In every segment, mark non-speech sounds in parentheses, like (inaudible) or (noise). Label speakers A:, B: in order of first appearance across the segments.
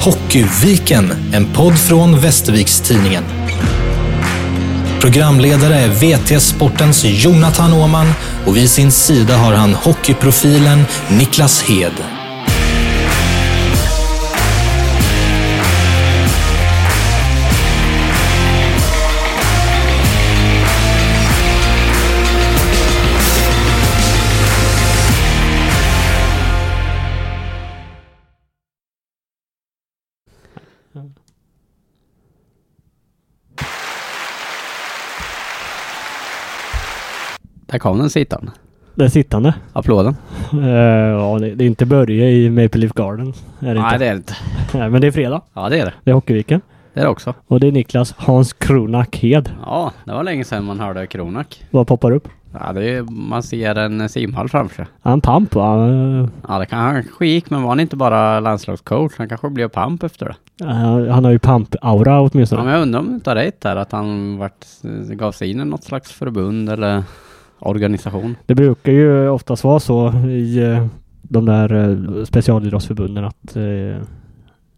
A: Hockeyviken, en podd från Västerviks-Tidningen. Programledare är VT Sportens Jonathan Åman och vid sin sida har han hockeyprofilen Niklas Hed.
B: Där kom den sittande.
C: Den sittande.
B: Applåden.
C: Eh, ja, det, det är inte Börje i Maple Leaf Garden. Är det
B: Nej,
C: inte.
B: det är det inte.
C: Nej, men det är fredag.
B: Ja, det är det.
C: Det är Hockeyviken.
B: Det är det också.
C: Och det är Niklas Hans Kronak Hed.
B: Ja, det var länge sedan man hörde Kronak.
C: Vad poppar upp?
B: Ja, det är, ju- man ser en simhall framför sig.
C: Han pamp va? Eh,
B: Ja, det kan han kanske gick, men var han inte bara landslagscoach? Han kanske blev pamp efter det.
C: han- Eh, han har ju pamp-aura
B: Ja,
C: åtminstone.
B: men jag undrar om du inte har rätt där, att han vart, gav sig in i något slags förbund eller organisation.
C: Det brukar ju oftast vara så i eh, de där eh, specialidrottsförbunden att eh,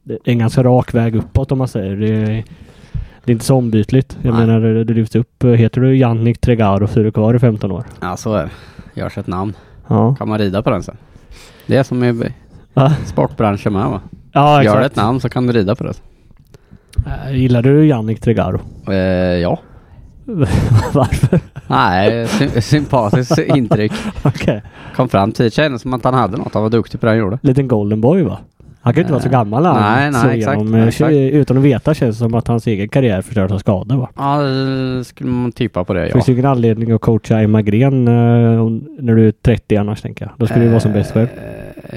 C: det är en ganska rak väg uppåt om man säger. Det är, det är inte så ombytligt. Jag
B: Nej.
C: menar, det det lyfts upp. eh, Heter du Jannik Tregaro så är du kvar i 15 år.
B: Ja, så är det. Görs ett namn.
C: Ja,
B: Kan man rida på den sen? Det är som i
C: Ja.
B: sportbranschen med va?
C: ja
B: Gör
C: exakt.
B: ett namn så kan du rida på det.
C: Eh, Gillar du Jannik Tregaro?
B: Eh, ja.
C: (laughs) Varför?
B: Nej, sy- sympatiskt intryck.
C: Okej.
B: Kom fram till kändes som att han hade något. Han var duktig på det han gjorde.
C: Liten golden boy va? Han kan ju inte vara så gammal när han
B: Nej, nej,
C: slår
B: exakt,
C: igenom. Eh,
B: exakt.
C: Utan att veta känns det som att hans egen karriär förstörs av skador va?
B: Ja, det skulle man tippa på det ja.
C: Finns ju ingen anledning att coacha Emma Gren eh, om- när du är 30 annars tänker jag. Då skulle du vara som bäst själv.
B: Eh,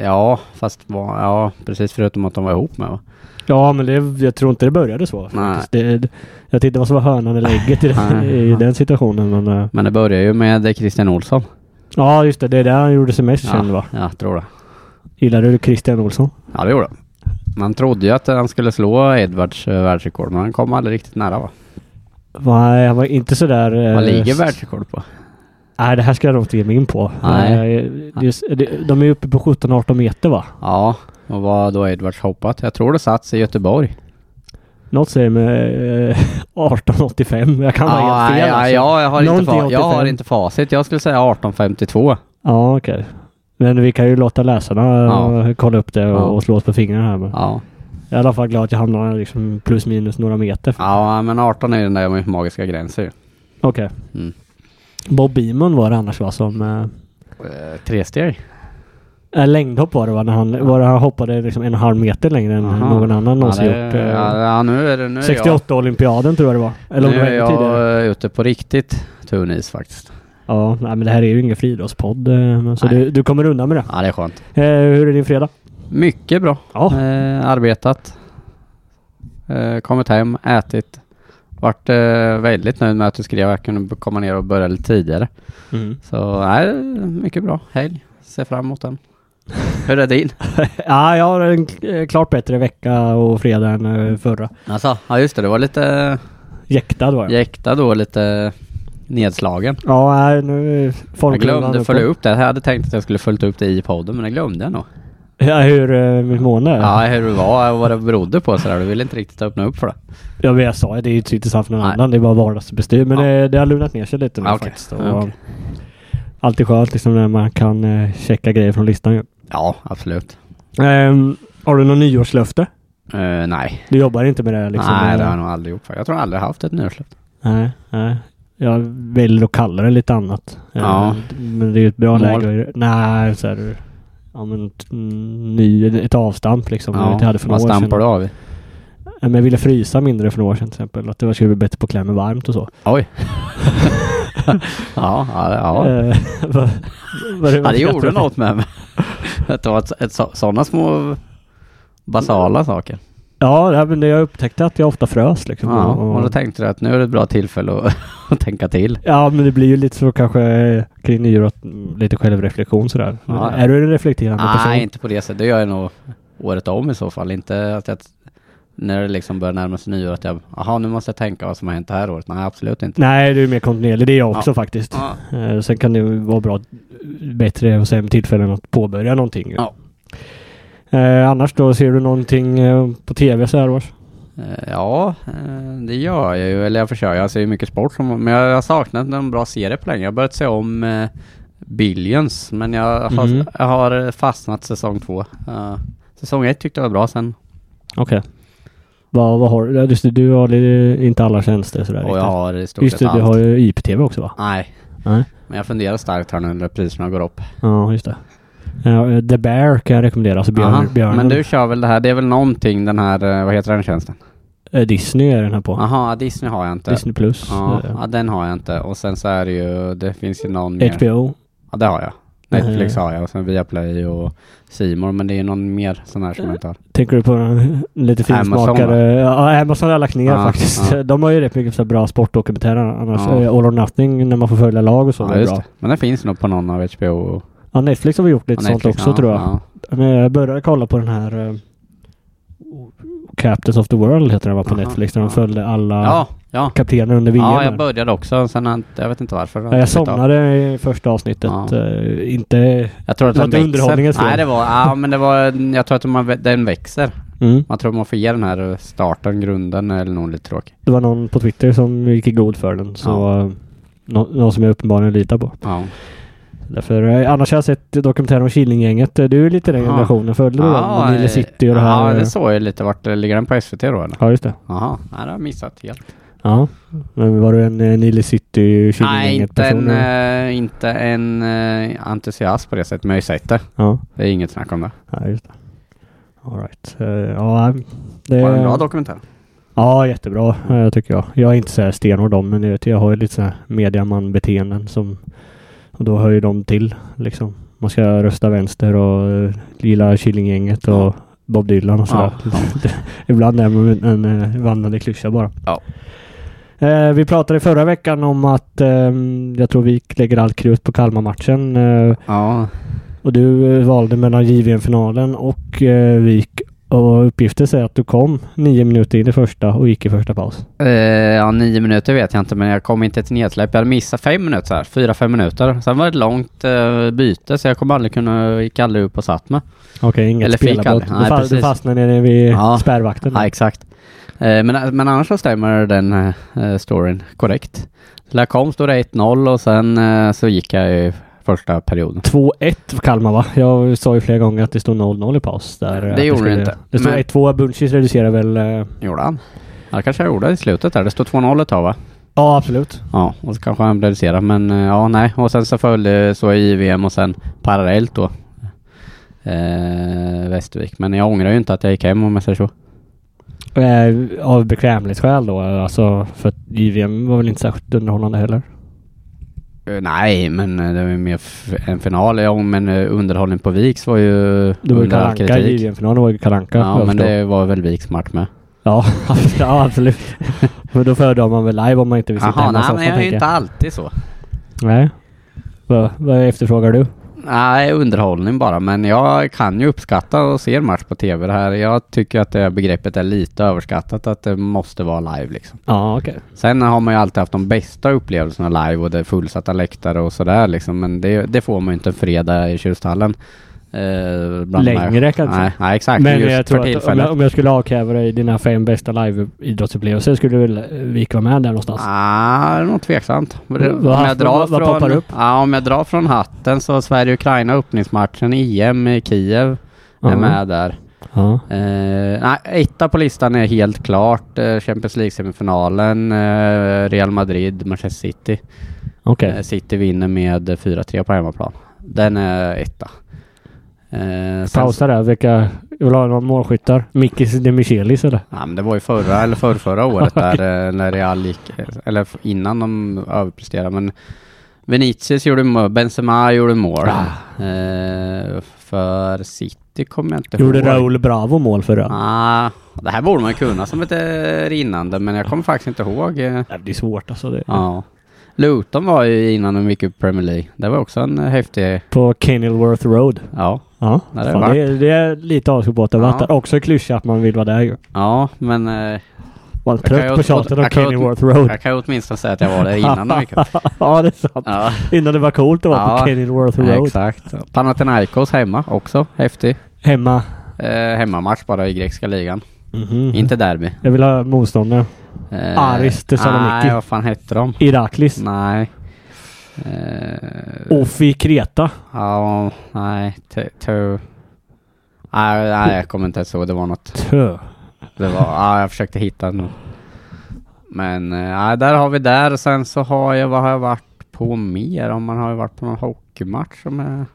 B: Ja, fast var, ja, precis förutom att de var ihop med va?
C: Ja men det, jag tror inte det började så.
B: Nej.
C: Det, det- jag tittade vad som var hönan eller ägget i, den-
B: Nej.
C: i den situationen. Men, eh,
B: Men det börjar ju med Christian Olsson.
C: ja just det, det är där han gjorde sig mest
B: Ja,
C: känd va?
B: Jag tror det.
C: Gillade du Christian Olsson?
B: Ja, det gjorde han. Man trodde ju att han skulle slå Edwards eh, världsrekord, men han kom aldrig riktigt nära va?
C: Nej, han var inte sådär... eh,
B: Vad ligger världsrekord på?
C: Nej, det här ska jag nog inte ge mig in på.
B: Nej.
C: Eh, Just, det- de är uppe på 17-18 meter va?
B: Ja, och vad då Edwards hoppat? Jag tror det satts i Göteborg.
C: Något säger mig eh, (laughs) 1885. Jag kan vara helt
B: ja,
C: fel.
B: ja,
C: alltså.
B: ja, jag, har inte
C: Någonting
B: fa- jag har
C: 85.
B: inte facit. Jag skulle säga 1852.
C: ja okej. Men vi kan ju låta läsarna eh, kolla upp det och,
B: Ja.
C: och slå oss på fingrarna här. Men
B: Ja.
C: Jag är i alla fall glad att jag hamnar liksom plus minus några meter.
B: ja, men 18 är den där magiska gränsen ju.
C: Okej.
B: Mm.
C: Bob Beamon var det annars va som... Eh,
B: Eh, Tresteg?
C: eh, längdhopp var det va? När han, var det, han hoppade liksom en och en halv meter längre än
B: Aha.
C: någon annan
B: Ja,
C: någonsin
B: det-
C: gjort. Eh,
B: ja, ja, nu är det... Nu är
C: 68-olympiaden tror jag det var. Eller om
B: jag,
C: det
B: nu
C: var
B: är
C: ännu tidigare.
B: jag ute på riktigt tunnis faktiskt.
C: Ja, nej, men det här är ju ingen friidrottspodd. eh, men Så
B: Nej.
C: du, du kommer undan med det.
B: Ja, det är skönt.
C: Eh, hur är din fredag?
B: Mycket bra.
C: Ja.
B: Eh, arbetat. Eh, kommit hem, ätit. Vart eh, väldigt nöjd med att du skrev att jag kunde b- komma ner och börja lite tidigare.
C: Mm.
B: Så nej, mycket bra helg. Ser fram emot den. Hur är din?
C: ja, jag har en eh, klart bättre vecka och fredag än eh, förra.
B: Alltså, ja just det, du var lite
C: Jäktad var jag.
B: jäktad då, lite nedslagen.
C: Ja, nej, nu är
B: Jag
C: formkurvan
B: glömde
C: uppe.
B: följa upp det. Jag hade tänkt att jag skulle följt upp det i podden, men det glömde jag nog.
C: Ja, hur eh, mitt mående är.
B: Ja, hur det var och vad det berodde på sådär. Du ville inte riktigt öppna upp för det.
C: Ja, men jag sa ju, det är ju inte intressant för någon
B: Nej.
C: annan. Det är bara vardagsbestyr. Men
B: Ja.
C: det, det har lugnat ner sig lite nu
B: Ja, okej.
C: faktiskt. Och,
B: Ja, okej.
C: Alltid skönt liksom när man kan eh, checka grejer från listan ju.
B: Ja, absolut.
C: Ehm, har du någon nyårslöfte?
B: Eh, nej,
C: Du jobbar inte med det här liksom?
B: nej
C: eh,
B: det har jag nog aldrig gjort. faktiskt. Jag tror jag aldrig haft ett nyårslöfte.
C: Nej, nej. Jag väljer att kalla det lite annat.
B: Ja.
C: Eh, Men det är ju ett bra
B: Mål.
C: läge. att- Nej, så här, ja, men ett, mm, ny, ett avstamp liksom. jag vet inte, jag hade för
B: vad
C: några år
B: stampar
C: sedan.
B: du av i?
C: Ja, Men jag ville frysa mindre för några år sedan till exempel. Att det skulle bli bättre på att klä mig varmt och så.
B: Oj. ja, ja, ja.
C: Eh, (laughs) vad- vad
B: ja, det
C: vad-
B: gjorde något
C: (laughs)
B: med mig. Att det var ett, ett, så- sådana små basala saker.
C: Ja, nej, men det- jag upptäckte att jag ofta frös liksom.
B: Ja,
C: och,
B: och då tänkte du att nu är det ett bra tillfälle att, (laughs) att tänka till.
C: ja, men det blir ju lite så kanske eh, kring nyår att mm, lite självreflektion sådär.
B: Ja,
C: Men
B: ja.
C: Är du en reflekterande person?
B: Nej, inte på det sättet. Det gör jag nog året om i så fall. Inte att jag, när det liksom börjar närma sig nyår att jag, jaha nu måste jag tänka vad som har hänt det här året. Nej, absolut inte.
C: Nej, du är mer kontinuerlig. Det är jag också
B: Ja.
C: faktiskt.
B: Ja.
C: Eh, Sen kan det ju vara bra, bättre och sämre tillfällen att påbörja någonting. ju.
B: Ja.
C: Eh, annars då, ser du någonting eh, på TV så här års?
B: Eh, Ja, eh, det gör jag ju. Eller jag försöker. Jag ser ju mycket sport. som- Men jag har saknat en bra serie på länge. Jag har börjat se om eh, Billions. Men jag har,
C: Mm.
B: jag har fastnat säsong två. Eh, säsong ett tyckte jag var bra sen.
C: Okej. Vad, vad har du? Ja, Just det, du har li- inte alla tjänster sådär
B: Och jag har i stort
C: Just
B: sett
C: det, du
B: allt.
C: har ju IPTV också va?
B: Nej.
C: Nej.
B: Men jag funderar starkt här nu när priserna går upp.
C: Ja, just det. Ja, The Bear kan jag rekommendera. Alltså
B: Aha,
C: björn, björnen.
B: Men du kör väl det här? Det är väl någonting den här, eh, vad heter den tjänsten?
C: Eh, Disney är den här på.
B: Jaha, Disney har jag inte.
C: Disney Plus.
B: Ja,
C: eh,
B: ja, den har jag inte. Och sen så är det ju, det finns ju någon mer.
C: HBO.
B: Ja, det har jag. Netflix
C: Eh.
B: har jag och sen Viaplay och Simor men det är ju någon mer sån här som jag inte har.
C: Tänker du på den lite
B: Amazon, va?
C: finsmakare? Ja, Amazon har jag lagt ner
B: Ja,
C: faktiskt.
B: ja.
C: (laughs) De har ju rätt mycket så här bra sportdokumentärer annars.
B: Ja.
C: eh, All or nothing när man får följa lag och så.
B: Ja,
C: är
B: just
C: bra.
B: det. Men den finns nog på någon av HBO och
C: Ja, Netflix har vi gjort lite
B: och
C: sånt
B: Netflix.
C: också
B: ja,
C: tror jag.
B: Ja.
C: Men jag började kolla på den här eh, Captains of the World heter den va på
B: Aha,
C: Netflix. Där de
B: ja.
C: följde alla
B: Ja, ja.
C: kaptener under VM.
B: ja,
C: där.
B: jag började också. Sen har jag, inte- jag vet inte varför.
C: Ja, jag somnade i första avsnittet.
B: Ja.
C: Eh, inte...
B: Jag tror att
C: Det
B: den
C: var inte
B: växer.
C: underhållningens fel.
B: Nej, det var... Ja, men det var... Jag tror att man, vä- den växer.
C: Mm.
B: Man tror man får ge den här starten, grunden, eller nog lite tråkig.
C: Det var någon på Twitter som gick i god för den. Så
B: Ja.
C: eh, nå- någon som jag uppenbarligen litar på.
B: Ja.
C: Därför, eh, annars har jag sett dokumentärer om Killinggänget. Eh, Du är lite den
B: Ja.
C: generationen. Följde du
B: Ja,
C: den? Manila
B: eh,
C: City och det här.
B: Ja, det såg jag lite. Vart ligger den på SVT då eller?
C: Ja, just det.
B: Jaha, nej, det har jag missat helt.
C: Ja. Men var du en eh, Nile City
B: Nej,
C: Killinggänget
B: inte en,
C: person? eller?
B: eh, inte en eh, entusiast på det sättet, men jag har ju sett det.
C: Ja.
B: Det är inget snack om det.
C: ja, just det. All right. Eh, Ja, det...
B: Var det en bra dokumentär?
C: Ja, jättebra eh, tycker jag. Jag är inte så här stenhård om men du vet, jag har ju lite så här mediaman-beteenden som... Och då hör ju de till liksom. Man ska rösta vänster och eh, gilla Killinggänget och Bob Dylan och sådär. (laughs) Ibland är man en eh, vandrande klyscha bara.
B: Ja.
C: Eh, vi pratade förra veckan om att ehm, jag tror vi lägger allt krut på Kalmar-matchen. Eh,
B: Ja,
C: och du eh, valde mellan JVM-finalen och eh, Vik. Och uppgifter säger att du kom nio minuter in i första och gick i första paus.
B: Eh, ja, nio minuter vet jag inte, men jag kom inte till nedsläpp. Jag hade missat fem minuter, så här, fyra, fem minuter. Sen var det ett långt eh, byte, så jag kommer aldrig kunna, gick aldrig upp och satt mig.
C: Okej, inget
B: Eller fick
C: spelarbrott.
B: aldrig.
C: Du,
B: Nej,
C: fa- du
B: precis.
C: fastnade nere vid
B: Ja.
C: spärrvakten.
B: Ja, exakt. Eh, men, men annars så stämmer den eh, eh, storyn korrekt. När jag kom stod det 1-0 och sen eh, så gick jag i första perioden.
C: 2-1 för Kalmar va? Jag sa ju flera gånger att det stod 0-0 i paus. Där, eh,
B: Det
C: Att
B: gjorde det
C: skulle-
B: inte.
C: Det stod
B: Men-
C: 1-2. Bunchis reducerar väl... eh,
B: Gjorde han? Ja, det kanske jag gjorde i slutet där. Det stod 2-0 ett tag va?
C: Ja, absolut.
B: Ja, och så kanske han reducerade, men eh, ja, nej. Och sen så följde så i VM och sen parallellt då. Eh, Västervik. Men jag ångrar ju inte att jag gick hem om jag säger så.
C: Eh, av bekvämlighetsskäl då. Alltså, för att JVM var väl inte särskilt underhållande heller.
B: Eh, Nej, men eh, det var ju mer f- en final. Ja, men eh, underhållning på Viks var ju
C: Det var ju
B: under all
C: Kalanka i JVM-finalen. var ju Kalanka.
B: Ja,
C: jag
B: men
C: förstår.
B: det var väl Viks match med.
C: Ja, (laughs) ja, absolut. Men då föredrar man väl live om man inte vill sitta
B: Jaha,
C: hemma i
B: nej
C: soffan,
B: men jag är
C: tänker
B: ju inte alltid så.
C: Nej. Vad- Vad efterfrågar du?
B: Nej, underhållning bara. Men jag kan ju uppskatta och se en match på tv det här. Jag tycker att det här begreppet är lite överskattat, att det måste vara live liksom.
C: Ja, okej.
B: Sen har man ju alltid haft de bästa upplevelserna live och det är fullsatta läktare och sådär liksom. Men det, det får man ju inte en fredag i Tjusthallen. Eh, bland de här-
C: Längre kanske.
B: Nej, nej exakt.
C: Men
B: just
C: jag tror
B: för
C: att om
B: tillfället.
C: jag, om jag skulle avkräva dig dina fem bästa live-idrottsupplevelser skulle väl eh, Vik vara med där någonstans?
B: Ah, det är nog tveksamt. Om
C: Alltså. Vad- vad- vad poppar upp?
B: Ja, om jag drar från hatten så Sverige-Ukraina öppningsmatchen i EM i Kiev är
C: Ja.
B: med där.
C: Ja.
B: Eh, nej, etta på listan är helt klart eh, Champions League-semifinalen, eh, Real Madrid, Manchester City.
C: Okej.
B: Eh, City vinner med 4-3 på hemmaplan. Den är etta. Eh, sen-
C: Pausa där. Vilka... Jag vill ha några målskyttar. Mikis de Michelis eller?
B: Ja, men det var ju förra eller förrförra året där eh, när Real gick, eller f- innan de överpresterade. Men Vinicius gjorde mål, Benzema gjorde mål. Eh, för City kommer jag inte
C: Gjorde Raúl Bravo mål för Rönn?
B: Ah, det här borde man kunna som ett eh, rinnande, men jag kommer faktiskt inte ihåg. eh,
C: Nej, Det är svårt alltså. Det.
B: Ja. Luton var ju innan de gick upp i Premier League. Det var också en eh, häftig...
C: På Kenilworth Road.
B: Ja.
C: Ja.
B: Ja, det är
C: Fan,
B: vackert.
C: det, är, det är lite avundsjuk på att det har varit
B: Ja.
C: där. Också klyscha att man vill vara där ju.
B: Ja, men eh,
C: Man är
B: Jag kan
C: trött
B: ju
C: på
B: åt-
C: tjatet om
B: jag kan ju åt-
C: Kenilworth Road.
B: jag kan ju åtminstone säga att jag var där innan de gick
C: (laughs)
B: upp.
C: ja, det är
B: (laughs)
C: sant.
B: Ja.
C: Innan det var coolt att vara på
B: Ja.
C: Kenilworth
B: Ja,
C: Road.
B: exakt. Panathinaikos hemma också. Häftig.
C: Hemma.
B: eh, hemmamatch bara i grekiska ligan.
C: Mhm.
B: Inte derby.
C: Jag vill ha motståndare.
B: Eh,
C: Aris Thessaloniki.
B: Nej, vad fan hette de?
C: Iraklis.
B: Nej. Eh,
C: Ofi Kreta.
B: Ja, nej. Te- te- Nej, nej, jag kommer inte ens ihåg. Det var något.
C: Tö.
B: Det var, ja, jag försökte hitta något. Men eh, nej, där har vi där. Sen så har jag, vad har jag varit på mer? Om man har ju varit på någon hockeymatch som är...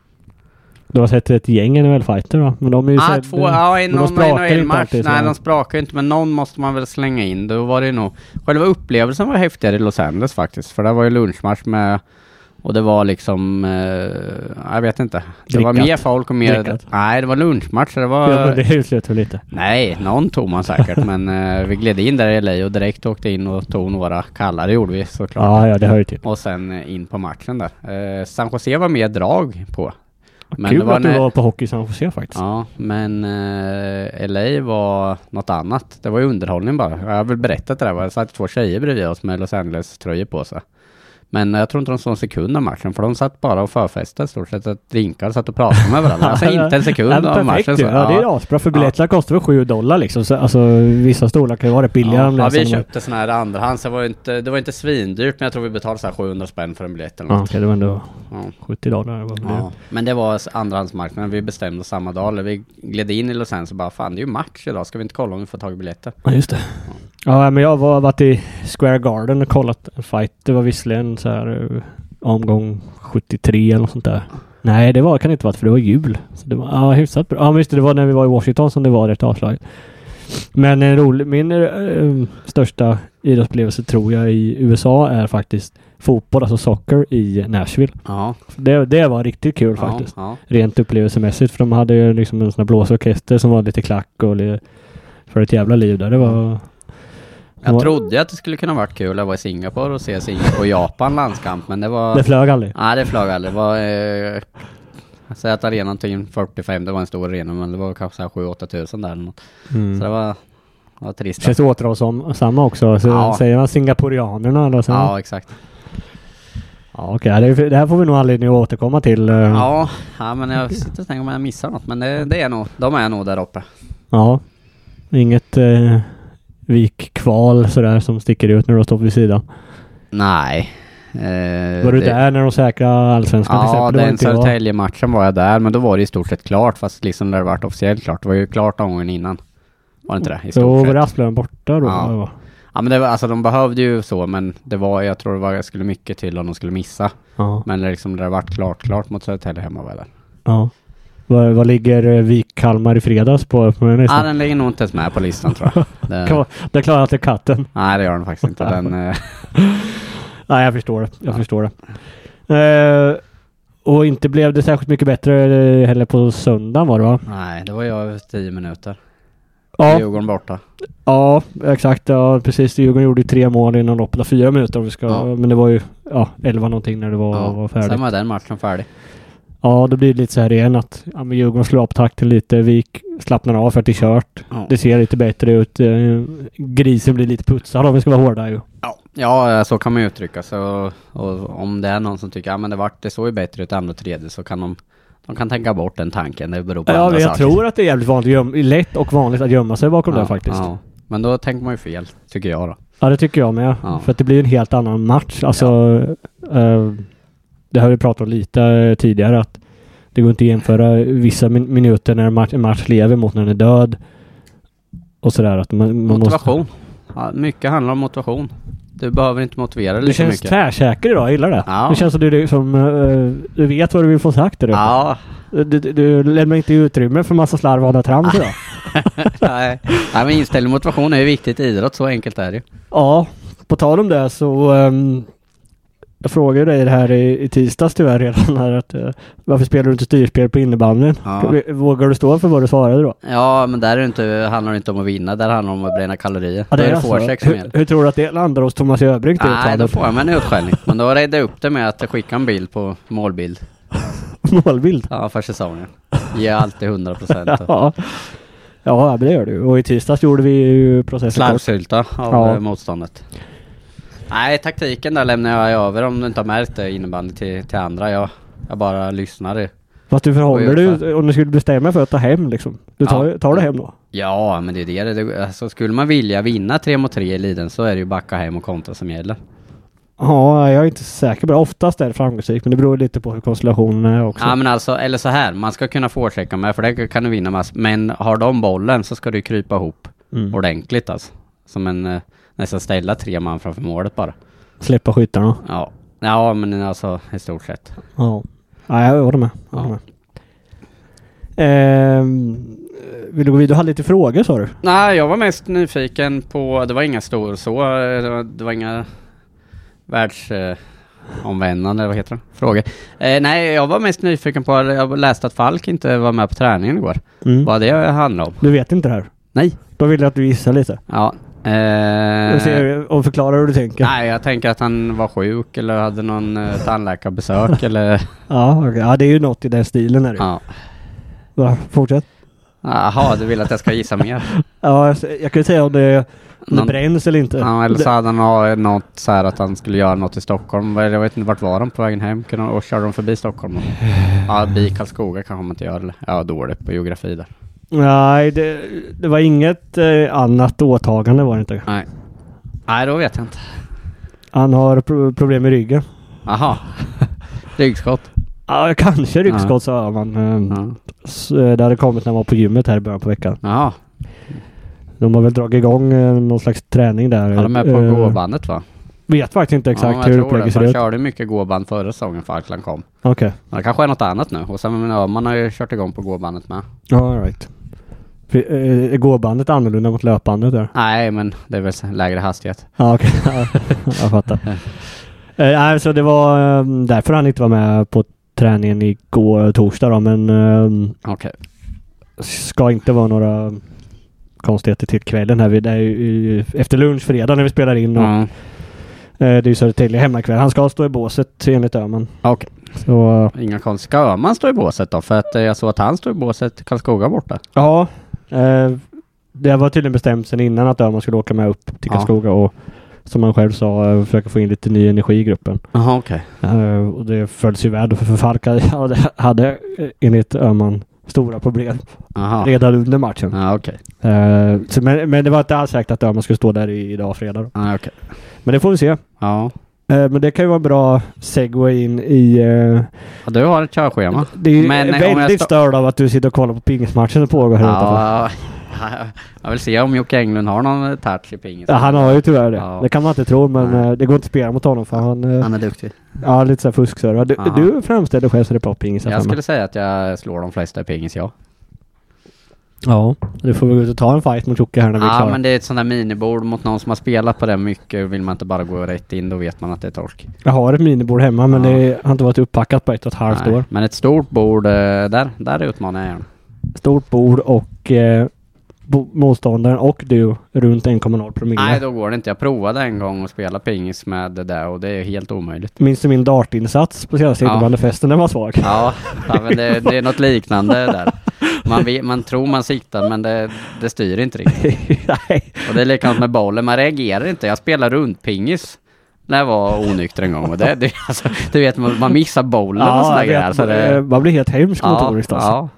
C: Du har sett ett gäng NHL-fighter va? Men de är ju
B: Ah,
C: sett-
B: två, ja, en
C: men de
B: någon
C: sprakar ju inte
B: NHL-match.
C: alltid, så-
B: Nej, de sprakar ju inte, men någon måste man väl slänga in. Då var det ju nog... Själva upplevelsen var häftigare i Los Angeles faktiskt, för det var ju lunchmatch med... Och det var liksom... Eh, jag vet inte. Det var
C: Drickat.
B: mer folk och mer...
C: Drickat.
B: Nej, det var lunchmatch. så Det var...
C: Ja, men det uteslöt väl lite.
B: Nej, någon tog man säkert, (laughs) men eh, vi gled in där i LA och direkt åkte in och tog några kallar, det gjorde vi såklart.
C: Ja, ja, det hör ju till.
B: Och sen eh, in på matchen där. Eh, San Jose var mer drag på. Men
C: Kul
B: det var
C: att du
B: när-
C: var på Hockey San Jose faktiskt.
B: Ja, men eh, LA var något annat. Det var ju underhållning bara. Jag har väl berättat det där, va? det satt två tjejer bredvid oss med Los Angeles-tröjor på sig. Men jag tror inte de såg en sekund av matchen, för de satt bara och förfestade i stort sett. Att drinkar och satt och pratade med varandra.
C: (laughs)
B: Alltså inte en sekund
C: Ja, men
B: av
C: perfekt
B: matchen.
C: ju. Ja, det är asbra för biljetterna kostar väl 7 dollar liksom. Så, alltså vissa stolar kan ju vara rätt billiga. om det
B: ja,
C: är
B: vi
C: som-
B: köpte sån här andrahands. Det var ju inte, det var inte svindyrt, men jag tror vi betalade så här 700 spänn för en biljett eller
C: Ja,
B: något.
C: okej, det var ändå
B: Ja.
C: 70 dollar. eller vad det var.
B: Ja, men det var andrahandsmarknaden. Vi bestämde samma dag. Eller vi gled in i Los Angeles och bara fan det är ju match idag. Ska vi inte kolla om vi får tag i biljetter?
C: Ja, just det. Ja, men jag har varit i Square Garden och kollat en fight. Det var visserligen så här eh, omgång 73 eller något sånt där. Nej, det var, kan det inte vara för det var jul. Så det var, ja, hyfsat bra. Ja, men just det. Det var när vi var i Washington som det var rätt avslaget. Men en rolig, min eh, största idrottsupplevelse tror jag i USA är faktiskt fotboll, alltså soccer i Nashville.
B: Ja,
C: Det, det var riktigt kul faktiskt
B: Ja,
C: rent upplevelsemässigt. För de hade ju liksom en sån här blåsorkester som var lite klack och li- för ett jävla liv där. Det var...
B: Mm. Jag
C: var-
B: trodde att det skulle kunna varit kul att vara i Singapore och se Singapore och Japan landskamp, men det var...
C: Det flög aldrig.
B: Nej, det flög aldrig. Det var... Eh, Säg att arenan tog in 45, det var en stor arena, men det var kanske så här 7-8 tusen där eller något. Så det var... Det var trist.
C: Mm. Känns återhållsamma också. Så
B: Ja.
C: Säger man singaporianerna eller så?
B: Ja, exakt.
C: ja okej. Det, det här får vi nog anledning att återkomma till. eh,
B: Ja, ja, men jag sitter och tänker om jag missar något, men det, det är nog... De är nog där uppe.
C: ja. Inget eh, vikkval sådär som sticker ut när de står vid sidan.
B: Nej. Eh,
C: Var du
B: det-
C: där när de säkrade allsvenskan
B: Ja,
C: till exempel? Det var
B: den
C: inte jag.
B: Södertälje-matchen var jag där, men då var det i stort sett klart, fast liksom när det vart officiellt klart. Det var ju klart omgången innan. Var det inte det? I stort
C: Då var
B: sett.
C: det Asplöven borta då.
B: Ja.
C: va?
B: Ja men det var, alltså de behövde ju så, men det var, jag tror det var, jag skulle mycket till om de skulle missa.
C: ja.
B: Men liksom det vart klart, klart mot Södertälje hemma var jag där.
C: ja. Vad vad ligger eh, Vik-Kalmar i fredags på? på den
B: Ja, den ligger nog inte ens med på listan tror
C: (laughs)
B: jag. Det,
C: Klar, det klarar inte katten.
B: nej det gör den faktiskt inte.
C: (laughs)
B: Den, eh,
C: Nej, jag förstår det. Jag förstår det. Eh, och inte blev det särskilt mycket bättre eh, heller på söndagen var det va?
B: nej, det var jag över tio minuter.
C: Ja,
B: Djurgården borta.
C: ja exakt. Ja, precis. Djurgården gjorde ju tre mål inom loppet av fyra minuter om vi ska...
B: Ja.
C: Men det var ju ja, elva någonting när det var, var färdigt.
B: Sen var den matchen färdig.
C: Ja, då blir det lite så här igen att ja, men Djurgården slår upp takten lite. Vik slappnar av för att det är kört.
B: Ja.
C: Det ser lite bättre ut. Eh, Grisen blir lite putsad om vi ska vara hårda ju.
B: Ja, ja, så kan man ju uttrycka sig. Och, och om det är någon som tycker att men det, vart, det såg ju bättre ut andra och tredje så kan de, de kan tänka bort den tanken. Det beror på
C: Ja,
B: andra
C: men jag
B: saker.
C: tror att det är jävligt vanligt, göm- lätt och vanligt att gömma sig bakom det faktiskt.
B: Ja. Men då tänker man ju fel, tycker jag då.
C: Ja, det tycker jag med.
B: Ja.
C: För att det blir en helt annan match. Alltså, eh, det har vi pratat om lite eh, tidigare att det går inte att jämföra vissa min- minuter när en match, en match lever mot när den är död. Och sådär att man, man måste...
B: Motivation. Ja, mycket handlar om motivation. Du behöver inte motivera
C: Du
B: lika
C: känns
B: mycket.
C: tvärsäker idag, jag gillar det.
B: Ja.
C: Det känns som du liksom, eh, du vet vad du vill få sagt där uppe.
B: Ja,
C: du, du, du lämnar inte utrymme för massa slarv och annat trams idag.
B: (laughs) nej. nej men inställning och motivation är ju viktigt i idrott, så enkelt är det ju.
C: Ja, på tal om det så ehm, jag frågade dig det här i, i tisdags tyvärr redan här att eh, varför spelar du inte styrspel på innebandyn?
B: Ja.
C: Vågar du stå för vad du svarade då?
B: Ja, men där är det inte, handlar det inte om att vinna, där handlar det om att bränna kalorier.
C: Ja,
B: då är det
C: alltså-
B: forecheck som
C: hur,
B: gäller.
C: hur tror du att det landar hos Thomas Öbrink? det
B: Nej, då
C: uttalet?
B: får man en utskällning. Men då räddade jag upp det med att skicka en bild på målbild.
C: (laughs) Målbild?
B: Ja, för säsongen. Ge alltid 100 procent.
C: (laughs) Ja. ja, men det gör du. Och i tisdags gjorde vi ju processen. kort.
B: Slarvsylta av
C: Ja.
B: eh, motståndet. Nej, taktiken där lämnar jag över om du inte har märkt det innebandy till, till andra. Jag, jag bara lyssnar
C: Fast du förhåller
B: Och jag-
C: dig om du skulle bestämma dig för att ta hem liksom. Du tar,
B: Ja.
C: tar det hem då?
B: Ja, men det är det. det alltså, skulle man vilja vinna 3 mot 3 i Liden så är det ju backa hem och kontra som gäller.
C: Ja, jag är inte säker på det. Oftast är det framgångsrikt men det beror lite på hur konstellationen är också.
B: Ja, men alltså, eller så här, man ska kunna forechecka med, för det kan du vinna massor. Men har de bollen så ska du ju krypa ihop
C: Mm.
B: ordentligt alltså. Som en, eh, nästan ställa tre man framför målet bara.
C: Släppa skyttarna.
B: Ja, ja men alltså i stort sett.
C: Ja. ja, jag håller med. Jag håller med. Ehm, vill du gå vidare? Du hade lite frågor sa du?
B: Nej, jag var mest nyfiken på, det var inga stor så, eh, det var, det var inga världsomvändande, eh, omvändande, vad heter det? Frågor. Eh, nej, jag var mest nyfiken på, jag läste att Falk inte var med på träningen igår.
C: Mm.
B: Vad det handlade om.
C: Du vet inte det här?
B: Nej.
C: Då vill jag att du gissar lite.
B: Ja.
C: Och
B: Eh,
C: ser- Och förklarar hur du tänker.
B: nej, jag tänker att han var sjuk eller hade någon eh,
C: (laughs)
B: tandläkarbesök eller...
C: Ja, okej. ja, det är ju något i den stilen. Är det. ju.
B: Ja.
C: Va? Fortsätt.
B: Jaha, du vill att jag ska gissa mer?
C: Ja, jag, s- jag kan ju säga om det, om det
B: Någon-
C: bränns eller inte.
B: Ja, eller
C: Det-
B: så hade han ha- något så här att han skulle göra något i Stockholm. Vad är det? Jag vet inte, vart var de på vägen hem? Kunde de, och körde de förbi Stockholm? Och, ja, bi Karlskoga kanske man inte gör. Eller? Jag är dålig på geografi där.
C: Nej, det, det var inget eh, annat åtagande var det inte.
B: Nej. Nej, då vet jag inte.
C: Han har pro- problem med ryggen.
B: (laughs) Jaha. Ryggskott.
C: Ja, kanske ryggskott sa man. Eh,
B: Ja.
C: s- eh, Det hade kommit när man var på gymmet här i början på veckan.
B: Jaha.
C: De har väl dragit igång eh, någon slags träning där.
B: Ja, de är på
C: Eh,
B: gåbandet va?
C: Vet faktiskt inte exakt
B: ja, jag
C: hur
B: tror det,
C: upplägget
B: för
C: ser
B: Han
C: ut.
B: körde mycket gåband förra säsongen Falkland kom.
C: Okej.
B: Men det kanske är något annat nu. Och sen men, Öhman har ju kört igång på gåbandet med.
C: Ja, all right. För, eh, Är gåbandet annorlunda mot löpbandet där?
B: Nej, men det är väl så- lägre hastighet.
C: Ja, okej. (laughs) Ja,
B: (laughs)
C: jag fattar. Eh, nej, så det var eh, därför han inte var med på träningen igår torsdag då, men eh,
B: Okej.
C: ska inte vara några konstigheter till kvällen här. Vi- Det är ju efter lunch fredag när vi spelar in och
B: Mm.
C: eh, det är ju Södertälje hemmakväll. Han ska stå i båset enligt Öhman.
B: Okej.
C: Så eh,
B: Inga konst. Ska Öhman stå i båset då? För att eh, jag såg att han stod i båset i Karlskoga borta.
C: ja, eh, det var tydligen bestämt sedan innan att Öhman skulle åka med upp till
B: Ja.
C: Karlskoga och som han själv sa eh, försöka få in lite ny energi i gruppen.
B: Jaha, okej.
C: Eh, och det följs ju väl för Falk (laughs) hade, hade eh, enligt Öhman stora problem
B: Jaha.
C: redan under matchen.
B: Ja, okej.
C: Eh, så, men, men det var inte alls säkert att Öhman skulle stå där i, idag fredag. Då.
B: Ja, okej.
C: Men det får vi se. Eh,
B: Ja.
C: men det kan ju vara en bra segway in i... eh,
B: Ja, Du har ett körschema.
C: det är ju
B: Men, eh, om jag
C: väldigt
B: stå-
C: störd av att du sitter och kollar på pingismatchen som pågår här utanför.
B: Ja. (laughs) Jag vill se om Jocke Englund har någon eh, touch i pingis.
C: Ja, han har ju tyvärr det.
B: Ja.
C: Det kan man inte tro men
B: Nej.
C: eh, det går inte att spela mot honom för han... eh,
B: Han är duktig.
C: ja, lite såhär fuskserver. Du,
B: Aha.
C: du framställer själv så det är bra pingis. här
B: Jag
C: framme.
B: skulle säga att jag slår de flesta i pingis, ja.
C: Ja, du får väl gå ut och ta en fight mot Jocke här när vi är
B: Ja
C: klara.
B: men det är ett sånt där minibord mot någon som har spelat på det mycket. Vill man inte bara gå rätt in då vet man att det är torsk.
C: Jag har ett minibord hemma men
B: Ja.
C: det har inte varit upppackat på ett och ett halvt
B: Nej,
C: år.
B: Men ett stort bord, eh, där, där utmanar jag gärna.
C: Stort bord och eh, bo- motståndaren och du runt 1,0 promille.
B: Nej då går det inte. Jag provade en gång att spela pingis med det där och det är helt omöjligt.
C: Minns du min dartinsats på senaste
B: Ja.
C: innebandefesten? Den
B: (laughs)
C: var svag.
B: Ja, ja men det, det är något liknande där. Man, vet, man tror man siktar men det, det styr inte riktigt.
C: Nej.
B: Och det är likadant med bollen, man reagerar inte. Jag spelar runt pingis. När jag var onykter en gång och det, det alltså, du vet man, man missar bollen och sådana
C: Ja, jag
B: grejer.
C: vet,
B: Så alltså det,
C: Eh, man blir helt hemsk motoriskt alltså.
B: ja.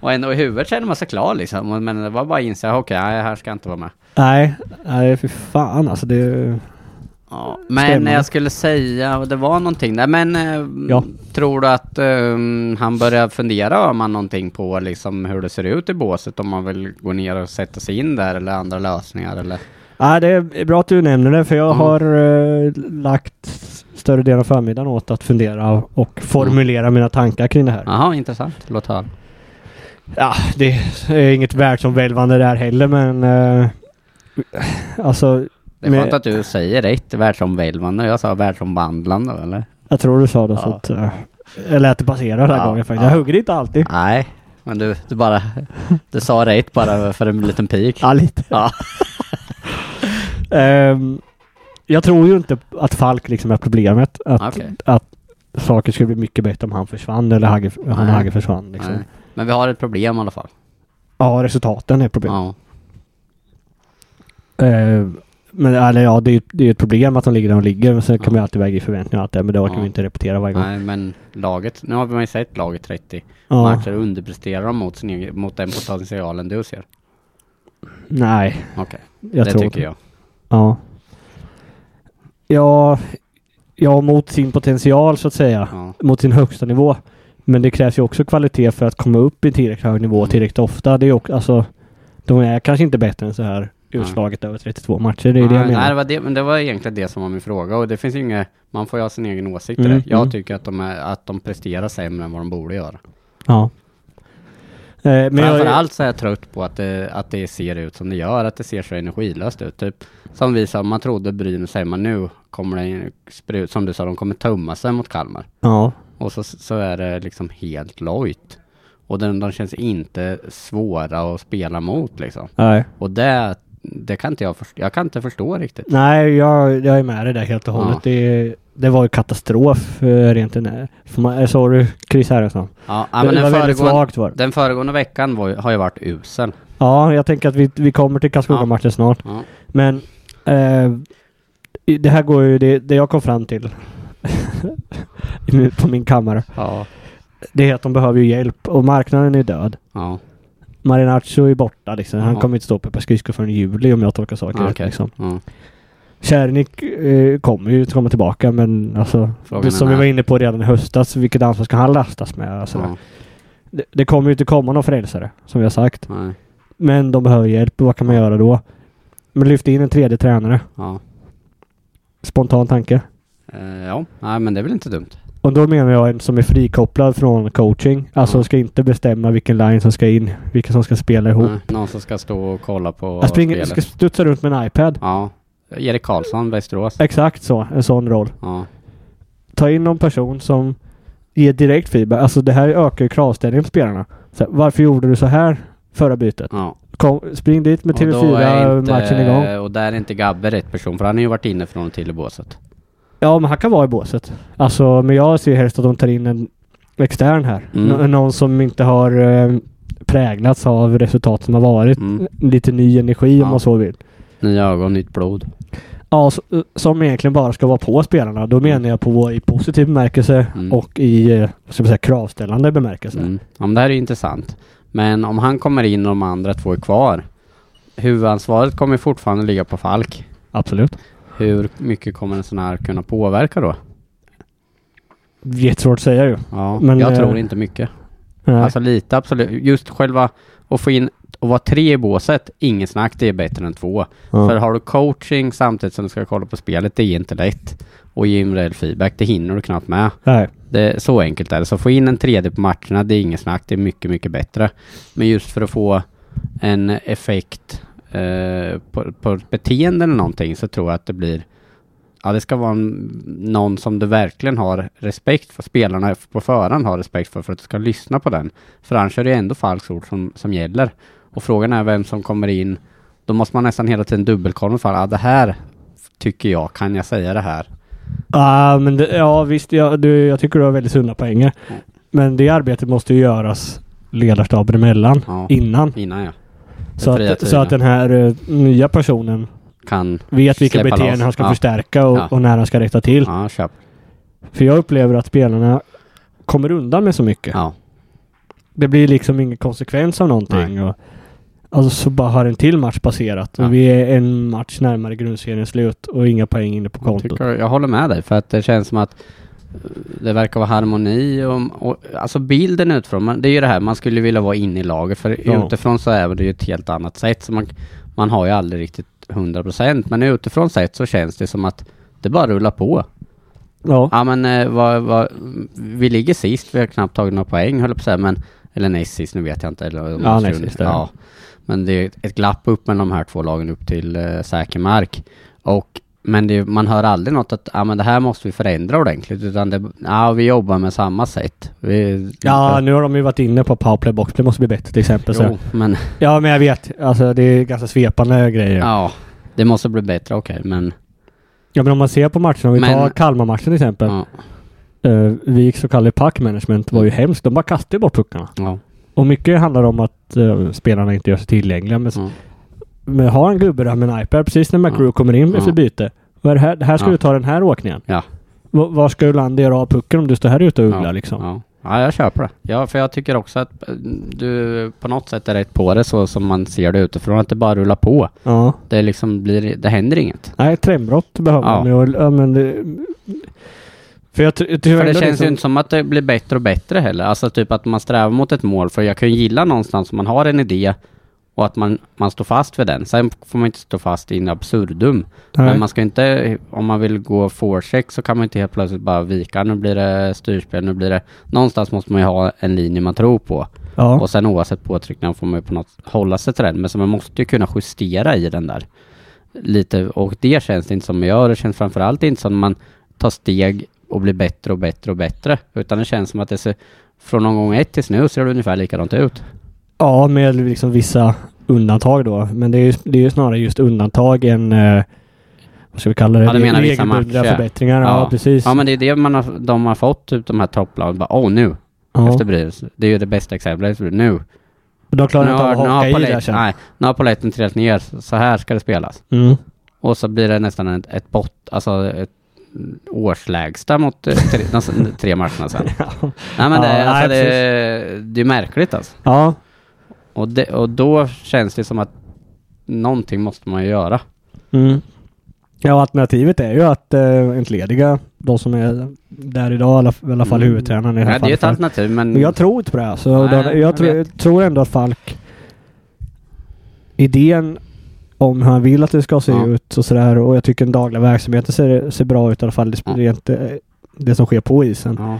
B: Och, ändå i huvudet känner man sig klar liksom. Men det var bara att inse, okej, nej, här ska jag inte vara med.
C: Nej, nej fy fan alltså. Det,
B: Ja, men
C: Stämmer.
B: jag skulle säga, och det var någonting där, men eh,
C: Ja.
B: tror du att eh, han börjar fundera om han någonting på liksom hur det ser ut i båset, om man vill gå ner och sätta sig in där eller andra lösningar eller?
C: nej, det är bra att du nämner det för jag
B: Mm.
C: har eh, lagt större delen av förmiddagen åt att fundera och formulera mina tankar kring det här.
B: Jaha, intressant. Låt höra.
C: Ja, det är inget världsomvälvande där heller men... Eh, alltså,
B: Det är skönt
C: Men-
B: att du säger rätt, världsomvälvande. Jag sa världsomvandlande, eller?
C: jag tror du sa det så
B: Ja.
C: att... Eh, jag lät det passera den här
B: Ja,
C: gången faktiskt.
B: ja.
C: Jag hugger inte alltid.
B: Nej, men du, du bara... Du sa rätt bara för en liten pik.
C: Ja, lite.
B: Ja.
C: (laughs) Ehm, jag tror ju inte att Falk liksom är problemet. Att,
B: Okej.
C: att saker skulle bli mycket bättre om han försvann eller Hagge, han och
B: Nej.
C: Hagge försvann. Liksom.
B: Nej. Men vi har ett problem i alla fall.
C: Ja, resultaten är problemet.
B: Ja.
C: Ehm, Men eller, ja, det är ju det är ju ett problem att de ligger där de ligger. Men sen kan man ju alltid väga i förväntningar och allt det. Men det orkar
B: Ja.
C: vi inte repetera varje gång.
B: Nej, men laget. Nu har man ju sett laget 30
C: Ja.
B: matcher och underpresterar de mot, sin egen, mot den potentialen du ser.
C: Nej,
B: Okej,
C: jag
B: det
C: tror
B: tycker jag.
C: Ja. Ja, ja, mot sin potential så att säga.
B: Ja.
C: Mot sin högsta nivå. Men det krävs ju också kvalitet för att komma upp i tillräckligt hög nivå
B: Mm.
C: tillräckligt ofta. Det är ju också, alltså, de är kanske inte bättre än så här utslaget över 32 matcher. Det är det
B: nej, nej,
C: jag
B: det
C: menar.
B: var det, men det var egentligen det som var min fråga och det finns ju inget, man får ju ha sin egen åsikt i
C: Mm,
B: det. Jag
C: mm.
B: tycker att de, är, att de presterar sämre än vad de borde göra.
C: Ja. Eh, men jag,
B: Framförallt så är jag trött på att det, att det ser ut som det gör, att det ser så energilöst ut. Typ som vi sa, man trodde Brynäs hemma nu kommer det in- sprut, som du sa, de kommer tömma sig mot Kalmar.
C: Ja.
B: Och så, så är det liksom helt lojt. Och de, de känns inte svåra att spela mot liksom.
C: Nej.
B: Och det, det kan inte jag förstå, jag kan inte förstå riktigt.
C: Nej, jag, jag är med dig där helt och
B: Ja.
C: hållet. Det, det var ju katastrof eh, rent när. För man, eh, sorry, Chris Hermansson.
B: Ja, ja, men
C: det var
B: den,
C: väldigt
B: föregående,
C: svagt var det.
B: den föregående veckan var, ju- har ju varit usel.
C: Ja, jag tänker att vi, vi kommer till Karlskoga-matchen snart.
B: Ja.
C: Men eh, i- det här går ju, det, det jag kom fram till (laughs) i min- på min kammare,
B: Ja.
C: det är att de behöver ju hjälp och marknaden är död.
B: Ja.
C: Marinaccio är borta liksom. Han
B: Ja.
C: kommer inte stå uppe på skridskor förrän i juli om jag tolkar saker rätt
B: okej.
C: liksom.
B: Ja.
C: Kärnik eh, kommer ju komma tillbaka men alltså
B: Frågan är
C: som vi
B: när.
C: var inne på redan i höstas, vilket ansvar ska han lastas med? Alltså,
B: Ja.
C: det, det kommer ju inte komma någon frälsare som vi har sagt.
B: Nej.
C: Men de behöver hjälp och vad kan man göra då? Men lyft in en tredje tränare.
B: Ja.
C: Spontan tanke.
B: Eh, ja. Nej, men det är väl inte dumt.
C: Och då menar jag en som är frikopplad från coaching. Alltså
B: Ja.
C: ska inte bestämma vilken line som ska in, vilka som ska spela ihop.
B: Nej, någon som ska stå och kolla på
C: Jag springer,
B: spelet.
C: ska studsa runt med en iPad.
B: Ja. Erik Karlsson, Västerås.
C: Exakt så, en sån roll.
B: Ja.
C: Ta in någon person som ger direkt feedback. Alltså det här ökar ju kravställningen på spelarna. Så här, varför gjorde du så här förra bytet?
B: ja.
C: Kom, spring dit med
B: Och då är inte-
C: TV4-matchen igång.
B: Och där är inte Gabbe rätt person, för han har ju varit inne från och till i båset.
C: Ja, men han kan vara i båset. Alltså, men jag ser helst att de tar in en extern här.
B: Mm.
C: Nå- någon som inte har eh, präglats av resultat som har varit.
B: Mm.
C: Lite ny energi om
B: Ja.
C: man så vill.
B: Nya ögon, nytt blod.
C: Ja, så, som egentligen bara ska vara på spelarna. Då menar jag på i positiv bemärkelse
B: Mm.
C: och i eh, vad ska man säga, kravställande bemärkelse.
B: Mm. Ja, men det här är ju intressant. Men om han kommer in och de andra två är kvar. Huvudansvaret kommer ju fortfarande ligga på Falk.
C: Absolut.
B: Hur mycket kommer en sån här kunna påverka då?
C: Jättesvårt att säga ju.
B: Ja,
C: Men,
B: jag
C: eh,
B: tror inte mycket.
C: Nej.
B: Alltså lite absolut. Just själva att få in och vara tre i båset, ingen snack, det är bättre än två.
C: Ja.
B: För har du coaching samtidigt som du ska kolla på spelet, det är inte lätt. Och ge reell feedback, det hinner du knappt med.
C: Nej.
B: Det, så enkelt är det. Så få in en tredje på matcherna, det är ingen snack, det är mycket, mycket bättre. Men just för att få en effekt eh, på, på ett beteende eller någonting så tror jag att det blir Ja, det ska vara en, någon som du verkligen har respekt för. Spelarna på förhand har respekt för, för att du ska lyssna på den. För annars är det ändå falskt ord som, som gäller. Och frågan är vem som kommer in. Då måste man nästan hela tiden dubbelkolla. För, ja, det här tycker jag, kan jag säga det här?
C: Ja, men det, ja visst. Ja, du, jag tycker du har väldigt sunda poänger.
B: Mm.
C: Men det arbetet måste ju göras ledarstaben emellan
B: Ja,
C: innan.
B: innan jag
C: Så
B: fria
C: att, så
B: tiden.
C: att den här eh, nya personen
B: kan
C: vet vilka
B: Släppa
C: beteenden
B: loss.
C: han ska
B: Ja.
C: förstärka och,
B: Ja.
C: och när han ska rätta till.
B: Ja, köp.
C: För jag upplever att spelarna kommer undan med så mycket.
B: Ja.
C: Det blir liksom ingen konsekvens av någonting. Och, alltså så bara har en till match passerat och
B: Ja.
C: vi är en match närmare grundseriens slut och inga poäng inne på
B: Jag,
C: kontot.
B: tycker, jag håller med dig, för att det känns som att eh, det verkar vara harmoni och, och alltså bilden utifrån, man, det är ju det här, man skulle vilja vara inne i laget, för
C: Ja.
B: utifrån så är det ju ett helt annat sätt, så man, man har ju aldrig riktigt 100% men utifrån sett så känns det som att det bara rullar på.
C: Ja.
B: Ja men eh, vad, vad, vi ligger sist, vi har knappt tagit några poäng höll jag på att säga, men eller näst sist, nu vet jag inte. Eller,
C: Ja, näst sist, ja.
B: ja. Men det är ett glapp upp mellan de här två lagen upp till eh, säker mark. Och, men det, man hör aldrig något att ja, men det här måste vi förändra ordentligt, utan det, ja, vi jobbar med samma sätt. Vi,
C: ja, nu har de ju varit inne på powerplay box. Det måste bli bättre till exempel. Så.
B: jo, men
C: Ja, men jag vet. Alltså det är ganska svepande grejer. Ja,
B: ja, det måste bli bättre, okej, men
C: men om man ser på matchen, om vi
B: Men-
C: tar Kalmar-matchen till exempel.
B: ja, Mm.
C: Eh, vi gick så kallade puck management var ju hemskt. De bara kastade ju bort puckarna.
B: ja,
C: Och mycket handlar om att eh, spelarna inte gör sig tillgängliga. Men s-
B: ja,
C: men har en gubbe där med en iPad precis när McGrew kommer in efter
B: Ja.
C: byte. Vad är det här? Det här ska
B: Ja.
C: du ta den här åkningen.
B: Ja.
C: Va- var ska Ulander göra av pucken om du står här ute och ugglar
B: ja,
C: liksom?
B: Ja. ja, jag köper det. Ja, för jag tycker också att eh, du på något sätt är rätt på det så som man ser det utifrån. Att det bara rullar på.
C: Ja.
B: Det liksom blir, det händer inget.
C: Nej, trendbrott behöver
B: Ja.
C: man ju. och- Ja, men det, för jag, ty- jag tycker
B: För det
C: ändå
B: känns
C: liksom-
B: ju inte som att det blir bättre och bättre heller. Alltså typ att man strävar mot ett mål. För jag kan ju gilla någonstans att man har en idé och att man, man står fast vid den. Sen får man inte stå fast in absurdum.
C: Nej.
B: Men man ska inte, om man vill gå forecheck så kan man inte helt plötsligt bara vika. Nu blir det styrspel, nu blir det... Någonstans måste man ju ha en linje man tror på.
C: ja.
B: Och sen oavsett påtryckningar får man ju på något hålla sig till den. Men så man måste ju kunna justera i den där. Lite, och det känns det inte som jag gör. Det känns framförallt inte som man tar steg och blir bättre och bättre och bättre. Utan det känns som att det ser, från någon gång ett till nu ser det ungefär likadant ut.
C: ja, med liksom vissa undantag då. Men det är ju, det är ju snarare just undantag än eh, vad ska vi kalla det?
B: Ja, du menar vissa
C: Regelbundna
B: matcher.
C: förbättringar. Ja,
B: Ja.
C: precis.
B: Ja men det är det man har, de har fått, typ de här topplagen. Bara åh nu,
C: Ja.
B: efter Brynäs. Det är ju det bästa exemplet. Nu.
C: De klarar
B: nu
C: inte av
B: har,
C: att
B: nu, har
C: haka i där
B: polett,
C: sen.
B: nej, nu har paletten trillat ner. Så här ska det spelas.
C: Mm.
B: Och så blir det nästan ett, ett bott, alltså ett årslägsta mot eh, tre, (laughs) nästan tre matcherna sen. Nej men det,
C: (laughs) Ja,
B: är- alltså,
C: nej,
B: det, det är märkligt alltså.
C: Ja,
B: Och, det, och då känns det som att någonting måste man ju göra.
C: Mm. Ja, alternativet är ju att eh, entlediga de som är där idag, i alla, i alla fall
B: Mm.
C: huvudtränaren i det
B: Ja,
C: här
B: det är ett
C: fallet.
B: alternativ men...
C: Men jag tror inte på det. här, Så
B: Mm. Nej,
C: då- jag,
B: jag
C: tror-
B: vet.
C: tror ändå att Falk... Idén om hur han vill att det ska se
B: Ja.
C: ut och sådär. Och jag tycker den dagliga verksamheten ser, ser bra ut i alla fall. Det,
B: Ja.
C: rent, eh, det som sker på isen.
B: ja.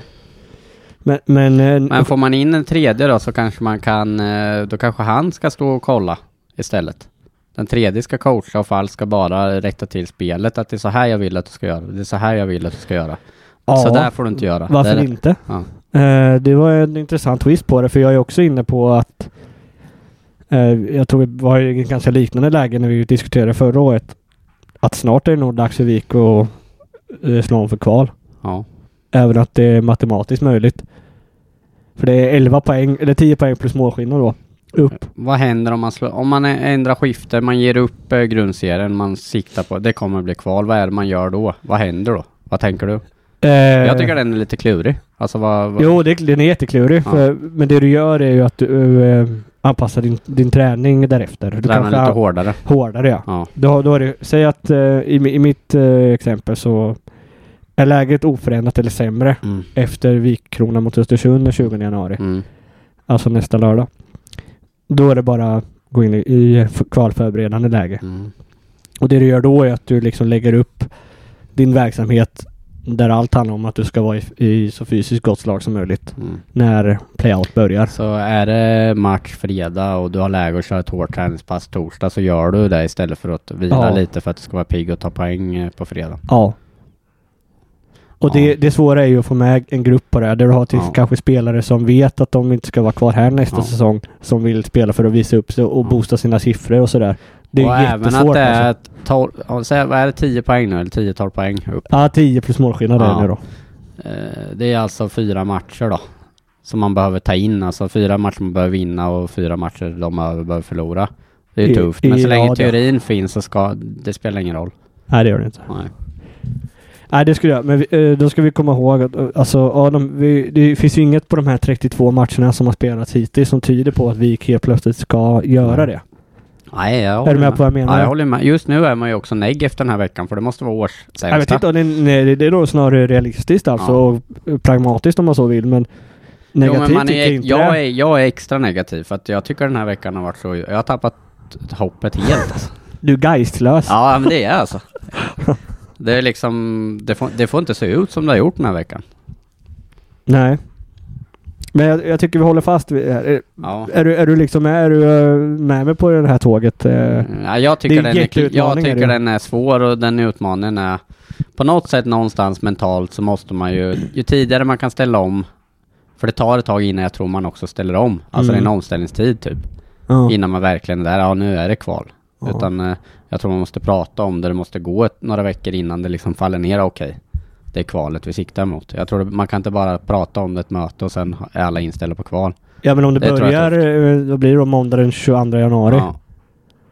C: Men... men, eh,
B: Men får man in en tredje då så kanske man kan, eh, då kanske han ska stå och kolla istället. Den tredje ska coacha och Fall ska bara rätta till spelet. Att det är så här jag vill att du ska göra. Det är så här jag vill att du ska göra.
C: ja,
B: Så där får du inte göra.
C: varför
B: Där-
C: inte?
B: Ja.
C: Eh, det var en intressant twist på det. För jag är också inne på att... eh, jag tror vi var i ett ganska liknande läge när vi diskuterade förra året. Att snart är det nog dags för Vik att eh, slå om för kval.
B: Ja.
C: Även att det är matematiskt möjligt. För det är 11 poäng, eller 10 poäng plus målskillnad då. Upp.
B: Vad händer om man slår, om man ä- ändrar skifte, man ger upp eh, grundserien man siktar på, det kommer bli kval, vad är det man gör då? Vad händer då? Vad tänker du? Jag tycker den är lite klurig. Alltså vad... vad
C: Eh, Jo, det, den är jätteklurig.
B: Ja.
C: För, men det du gör är ju att du eh, anpassar din, din träning därefter. Du
B: tränar lite
C: ha-
B: hårdare.
C: hårdare. Ja.
B: Ja.
C: Då, då är det, säg att eh, i, mi- i mitt eh, exempel så är läget oförändrat eller sämre
B: Mm.
C: efter Vikkrona mot Östersund den 20 januari.
B: Mm.
C: Alltså nästa lördag. Då är det bara att gå in i, i kvalförberedande läge.
B: Mm.
C: Och det du gör då är att du liksom lägger upp din verksamhet där allt handlar om att du ska vara i, i så fysiskt gott slag som möjligt
B: Mm.
C: när playout börjar.
B: Så är det match fredag och du har läge att köra ett hårt träningspass torsdag så gör du det istället för att vila
C: Ja.
B: lite för att du ska vara pigg och ta poäng eh, på fredag.
C: Ja. Och
B: Ja.
C: det, det svåra är ju att få med en grupp på det här där du har till
B: Ja.
C: kanske spelare som vet att de inte ska vara kvar här nästa
B: Ja.
C: säsong. Som vill spela för att visa upp sig och
B: Ja.
C: boosta sina siffror och sådär. Det är
B: och även att
C: jättesvårt.
B: det är
C: alltså.
B: ett 12, ja, säg- vad är det 10 poäng nu? Eller 10-12 poäng upp?
C: Ja, 10 plus målskillnad är
B: Ja.
C: det nu då.
B: Eh, Det är alltså fyra matcher då. Som man behöver ta in. Alltså fyra matcher man behöver vinna och fyra matcher de över behöver förlora. Det är ju
C: I-
B: tufft. Men
C: i
B: så länge
C: rad, ja.
B: teorin finns så ska... Det spelar ingen roll.
C: Nej, det gör det inte.
B: Nej.
C: Nej, det skulle jag. Men vi, eh, då ska vi komma ihåg att eh, alltså, ja, de, vi, det finns ju inget på de här 32 matcherna som har spelats hittills som tyder på att vi helt plötsligt ska göra det.
B: Nej, jag
C: Är
B: Mm. håller
C: du med på vad jag menar?
B: Ja, jag håller med. Just nu är man ju också negg efter den här veckan för det måste vara
C: jag vet
B: årssämsta.
C: inte, om det, är- nej, det- det är nog snarare realistiskt alltså
B: Ja.
C: och eh, pragmatiskt om man så vill. Men negativt
B: jo, men man
C: tycker
B: är,
C: jag inte
B: jag,
C: det.
B: är, jag är extra negativ för att jag tycker den här veckan har varit så... Jag har tappat hoppet helt
C: (laughs)
B: alltså.
C: Du är geistlös.
B: Ja, men det är jag alltså. Det är liksom... Det får, det får inte se ut som det har gjort den här veckan.
C: Nej. Men jag, jag tycker vi håller fast vid det här. Är,
B: Ja.
C: är, du, är du liksom med, är du eh, med mig på det här tåget? eh?
B: Mm, Ja, jag tycker,
C: Det är
B: den, är, jag
C: jätteutmaningar
B: tycker
C: det.
B: den är svår och den utmaningen är på något sätt någonstans mentalt så måste man ju, ju tidigare man kan ställa om, för det tar ett tag innan jag tror man också ställer om. Alltså
C: Mm.
B: det är en omställningstid typ,
C: Ja.
B: innan man verkligen är där, ja nu är det kval.
C: Ja.
B: Utan eh, jag tror man måste prata om det, det måste gå ett, några veckor innan det liksom faller ner, okej. det är kvalet vi siktar mot. Jag tror det, man kan inte bara prata om det i ett möte och sen är alla inställda på kval.
C: Ja men om det,
B: Det tror jag
C: börjar, eh, då blir det då måndag den 22 januari.
B: Ja.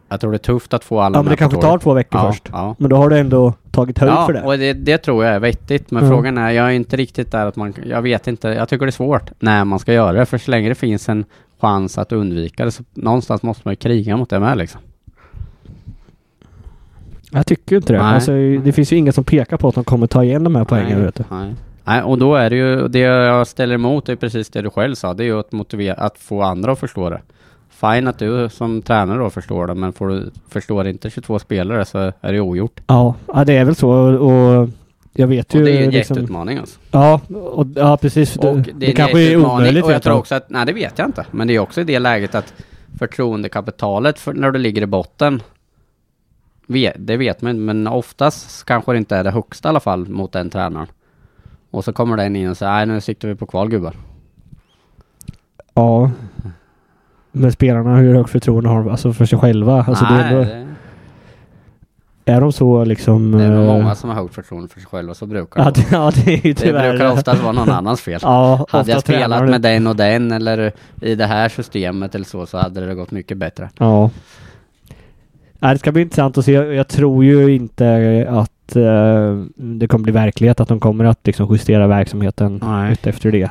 B: Jag tror det är tufft att få alla
C: Ja men det
B: med på
C: kanske
B: tåget.
C: tar två veckor
B: ja,
C: först.
B: Ja.
C: Men då har du ändå tagit höjd
B: ja,
C: för det.
B: och det, det tror jag är vettigt. Men
C: Mm.
B: frågan är, jag är inte riktigt där att man, jag vet inte, jag tycker det är svårt när man ska göra det. För så länge det finns en chans att undvika det, så någonstans måste man ju kriga mot det med liksom.
C: Jag tycker ju inte det.
B: Nej.
C: Alltså, det finns ju inget som pekar på att de kommer ta igen de här poängen.
B: Nej,
C: Vet du.
B: Nej. Nej, och då är det ju, det jag ställer emot är precis det du själv sa, det är ju att motivera, att få andra att förstå det. Fine att du som tränare då förstår det, men får du, förstår inte 22 spelare så är det ju ogjort.
C: Ja, ja, det är väl så. Och, och jag vet
B: Och
C: ju...
B: det är ju en
C: liksom,
B: jätteutmaning alltså.
C: Ja, och, ja precis.
B: Och
C: Typ, det, det kanske
B: en
C: är
B: jätteutmaning,
C: omöjligt.
B: Och jag
C: vet
B: tror
C: du.
B: också att, nej det vet jag inte, men det är också i det läget att förtroendekapitalet för, när du ligger i botten, ve- det vet man inte, men oftast kanske det inte är det högsta i alla fall mot den tränaren. Och så kommer den in och säger, nej nu siktar vi på kval gubbar.
C: Ja. Men spelarna, hur högt förtroende har de alltså för sig själva? Alltså, det är,
B: nej,
C: ändå,
B: det...
C: är de så liksom...
B: Det är nog
C: eh,
B: många som har högt förtroende för sig själva, så brukar
C: (laughs) Ja,
B: det,
C: det, ja, det är ju
B: det
C: tyvärr...
B: brukar oftast vara någon annans fel.
C: (laughs) Ja,
B: hade jag
C: ofta tränar
B: spelat
C: de.
B: med den och den eller i det här systemet eller så, så hade det gått mycket bättre.
C: Ja. Nej, det ska bli intressant att se. Jag, jag tror ju inte att eh, det kommer bli verklighet att de kommer att liksom, justera verksamheten
B: Nej.
C: efter det.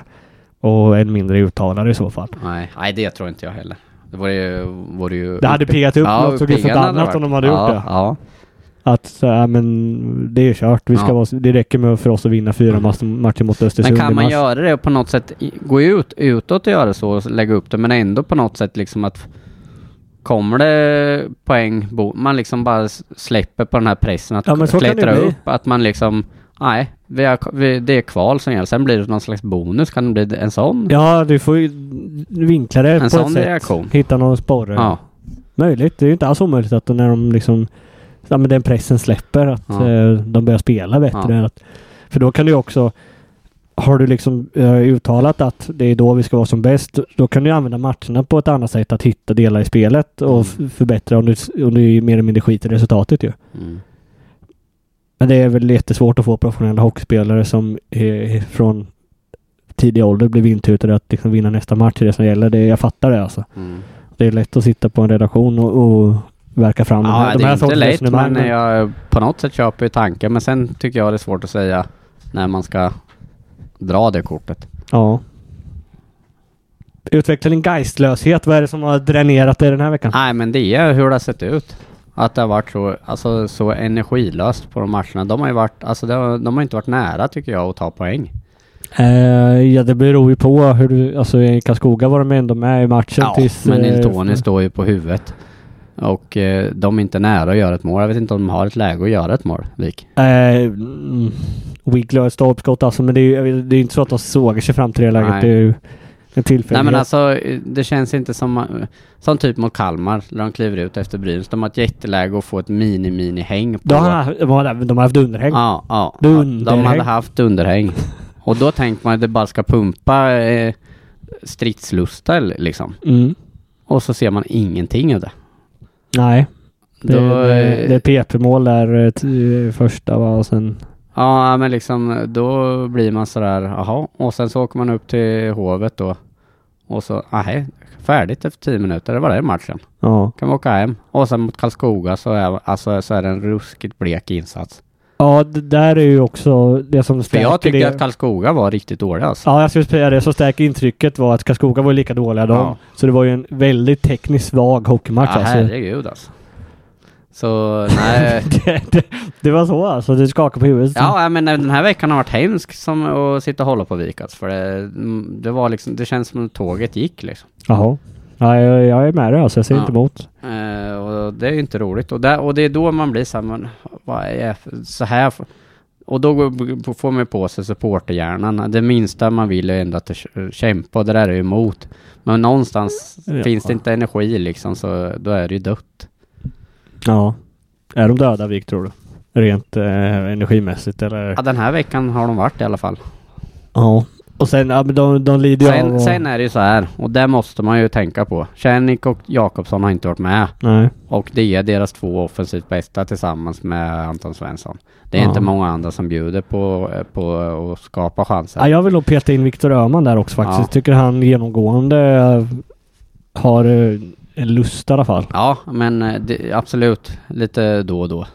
C: Och en mindre uttalare i så fall.
B: Nej, nej det tror inte jag heller. Det vore ju... Vore ju
C: Det hade piggat upp något så det är
B: piggande hade
C: förbannat om de hade
B: varit.
C: gjort
B: ja, Ja,
C: Att så här, men det är kört. Vi ska
B: Ja. Mm.
C: vara, det räcker med för oss att vinna fyra mas- matcher mot Östersund
B: Men kan
C: i
B: man
C: mars.
B: göra det och på något sätt i- gå ut utåt och göra så och lägga upp det men ändå på något sätt liksom att kommer det poäng, bo- man liksom bara s- släpper på den här pressen att
C: Ja, men så kan det
B: klättra
C: bli.
B: upp, att man liksom nej, vi har, k- vi, det är kval som gäller. Sen blir det någon slags bonus, kan det bli en sån?
C: Ja, du får ju vinkla det
B: En
C: på ett
B: sån
C: sätt.
B: reaktion.
C: Hitta någon sporre.
B: Ja.
C: Möjligt. Det är ju inte alls omöjligt att när de liksom... Ja, men den pressen släpper att
B: Ja.
C: eh, de börjar spela bättre.
B: Ja.
C: Att, för då kan du ju också... Har du liksom eh, uttalat att det är då vi ska vara som bäst, då kan du ju använda matcherna på ett annat sätt att hitta delar i spelet
B: Mm.
C: och f- förbättra om du, s- om du mer eller mindre skiter i resultatet ju.
B: Mm.
C: Men det är väl jättesvårt att få professionella hockeyspelare som eh, från tidig ålder blir vintutade att liksom vinna nästa match. Det är det som gäller. Det, jag fattar det alltså.
B: Mm.
C: Det är lätt att sitta på en redaktion och, och verka fram de
B: Ja,
C: här,
B: det
C: de
B: är
C: här
B: inte
C: sortens
B: lätt
C: resonemang.
B: men eh, jag på något sätt köper ju tanken men sen tycker jag det är svårt att säga när man ska dra det kortet.
C: Ja. Utveckla din geistlöshet. Vad är det som har dränerat dig den här veckan?
B: Nej, men det är hur det har sett ut. Att det har varit så, alltså, så energilöst på de matcherna. De har ju varit, alltså, de, har- de har inte varit nära tycker jag att ta poäng.
C: Eh, ja, det beror ju på hur du... Alltså i Karlskoga var de ändå med i matchen tills...
B: men
C: eh,
B: Niltoni står ju på huvudet. Och eh, de är inte nära att göra ett mål. Jag vet inte om de har ett läge att göra ett mål, Vik.
C: Eh, mm, Wiggler har ett stolpskott alltså, men det är ju jag vet- det är inte så att de sågar sig fram till det läget.
B: Nej.
C: Det är ju en
B: Nej
C: tillfällighet.
B: men alltså, eh, det känns inte som... eh, Som typ mot Kalmar, när de kliver ut efter Brynäs. De har ett jätteläge att få ett mini-mini-häng på.
C: de, har, de, har, de har haft underhäng.
B: Ja, ja.
C: Dunderhäng.
B: De hade haft underhäng. Och då tänkte man att det bara ska pumpa eh, stridslusta eller liksom.
C: Mm.
B: Och så ser man ingenting av det.
C: Nej, det,
B: Då,
C: det,
B: eh,
C: det är PP-mål där eh, t- första va, och sen...
B: ja, men liksom då blir man sådär, jaha. Och sen så åker man upp till Hovet då. Och så, nej, färdigt efter 10 minuter. Det var det matchen.
C: Ja.
B: Kan vi åka hem. Och sen mot Karlskoga så är, alltså, så är det en ruskigt blek insats.
C: Ja, det där är ju också det som
B: För
C: stärker
B: jag tycker
C: det.
B: att Karlskoga var riktigt dålig alltså.
C: Ja, jag skulle säga det. Så stärker intrycket var att Karlskoga var ju lika dåliga de.
B: Ja.
C: Så det var ju en väldigt tekniskt svag hockeymatch
B: Ja,
C: alltså.
B: herregud alltså. Så nej,
C: (laughs) det, det, det var så alltså. Det skakade på huvudet.
B: Ja, ja, men den här veckan har varit hemsk som att sitta och hålla på Vikats. För det, mm, det var liksom, det känns som att tåget gick liksom.
C: Jaha. Ja, jag, jag är med dig alltså. Jag säger
B: Ja.
C: inte emot.
B: Eh, och det är ju inte roligt. Och, där, och det är då man blir såhär, men vad är för- så här? f- Och då går- får man på sig supporterhjärnan. Det minsta man vill är ändå att kä- kämpa och det där är ju emot. Men någonstans
C: Ja.
B: finns det inte energi liksom så då är det ju dött.
C: Ja. Är de döda, Vik, tror du? Rent eh, energimässigt eller?
B: Ja, den här veckan har de varit i alla fall.
C: Ja. Och sen, ja men de, de lider ju av...
B: Sen,
C: att-
B: sen är det ju så här och det måste man ju tänka på. Tjernik och Jakobsson har inte varit med.
C: Nej.
B: Och det är deras två offensivt bästa tillsammans med Anton Svensson. Det är
C: Ja.
B: inte många andra som bjuder på, på att skapa chanser.
C: Ja, jag vill nog peta in Viktor Öhman där också faktiskt.
B: Ja.
C: Jag tycker han genomgående eh, har eh, en lust i alla fall.
B: Ja, men eh, det, absolut. Lite då och då.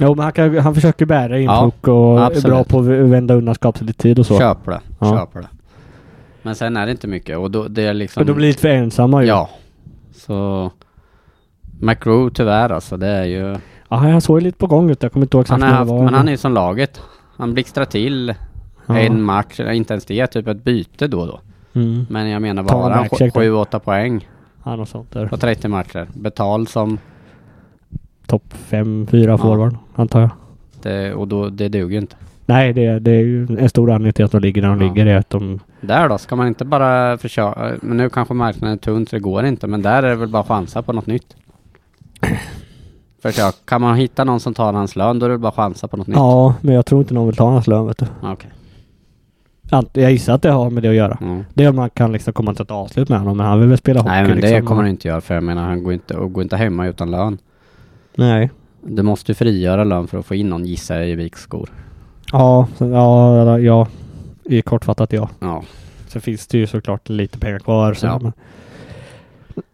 C: Jo, men han, kan, han försöker bära
B: Ja,
C: intryck och
B: absolut.
C: är bra på att vända undan skapligt tid och så.
B: Köper det.
C: Ja.
B: Köper det. Men sen är det inte mycket och då, det är liksom...
C: Och de blir lite för ensamma ju.
B: Ja. Så... McRoe tyvärr alltså, det är ju...
C: Ja, han såg ju lite på gång ut. Jag kommer inte ihåg
B: Han
C: exakt
B: har
C: när det
B: haft,
C: var.
B: men han är ju som laget. Han blixtrar till
C: Ja.
B: en match, eller inte ens det, typ ett byte då och då.
C: Mm.
B: Men jag menar, vad
C: Ta
B: har
C: en
B: han?
C: match, ursäkta.
B: 7-8 poäng
C: Ja, något sånt där.
B: på 30 matcher. Betald som...
C: Topp fem, fyra forward, antar jag.
B: Det, och då, det duger ju inte.
C: Nej, det, det är ju en stor anledning till att de ligger där de
B: Ja.
C: ligger. Är att de,
B: Där då? Ska man inte bara försöka... Men nu kanske marknaden är tunn så det går inte. Men där är det väl bara chansa på något
C: (clears throat)
B: nytt. Försök. Kan man hitta någon som tar hans lön då är det bara chansa på något nytt.
C: ja, men jag tror inte någon vill ta hans lön, vet du.
B: Ja, Okej.
C: Ant- Jag gissar att det har med det att göra.
B: Mm.
C: Det är om man kan liksom komma till ett avslut med honom, men han vill väl spela hockey
B: Nej men det
C: liksom.
B: kommer han inte göra för jag menar han går inte, och går inte hemma utan lön.
C: Nej.
B: Du måste ju frigöra lön för att få in någon gissar jag i Viks skor.
C: Ja, så- ja, ja, ja. I kortfattat ja.
B: Ja.
C: Så finns det ju såklart lite pengar kvar. Så
B: Ja.
C: men...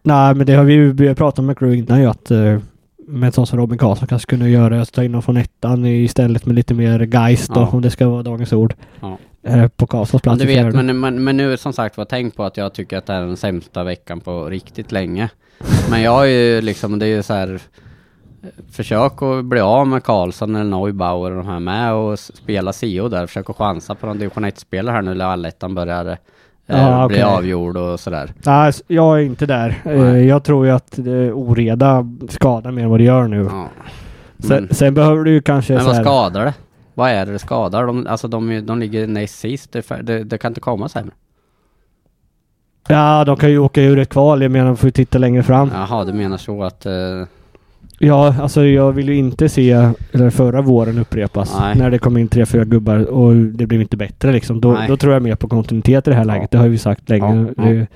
C: Nej, men det har vi ju vi har pratat om McRoe innan ju att eh, med en sån som Robin Karlsson kanske kunde göra, att ta in honom från ettan istället med lite mer geist då,
B: Ja.
C: om det ska vara dagens ord.
B: Ja.
C: Eh, på Karlssons
B: Men
C: plats
B: du
C: i
B: vet
C: fjärde.
B: men, men, men nu som sagt var tänk på att jag tycker att det här är den sämsta veckan på riktigt länge. Men jag är ju liksom det är ju så här eh, Försök att bli av med Karlsson eller Neubauer och de här med och s- spela CO där. Försök att chansa på någon division 1-spelare här nu när allettan börjar eh,
C: Ja,
B: bli
C: okej.
B: avgjord och sådär.
C: Nej, s- jag är inte där. Eh,
B: Nej.
C: jag tror ju att eh, oreda skadar mer än vad det gör nu.
B: Ja.
C: Sen,
B: Men-
C: sen behöver du ju kanske
B: Men
C: så
B: vad
C: här,
B: skadar det? Vad är det det skadar? De, alltså de, är- de ligger näst sist. Det, är för- det, det kan inte komma sämre.
C: Ja, de kan ju åka ur ett kval. Jag menar, de får ju titta längre fram.
B: Jaha, du menar så att... eh,
C: Ja, alltså jag vill ju inte se eller förra våren upprepas.
B: Nej.
C: När det kom in tre, fyra gubbar och det blev inte bättre liksom. Då,
B: Nej.
C: då tror jag mer på kontinuitet i det här läget. Det har vi sagt länge.
B: Ja, ja.
C: Det,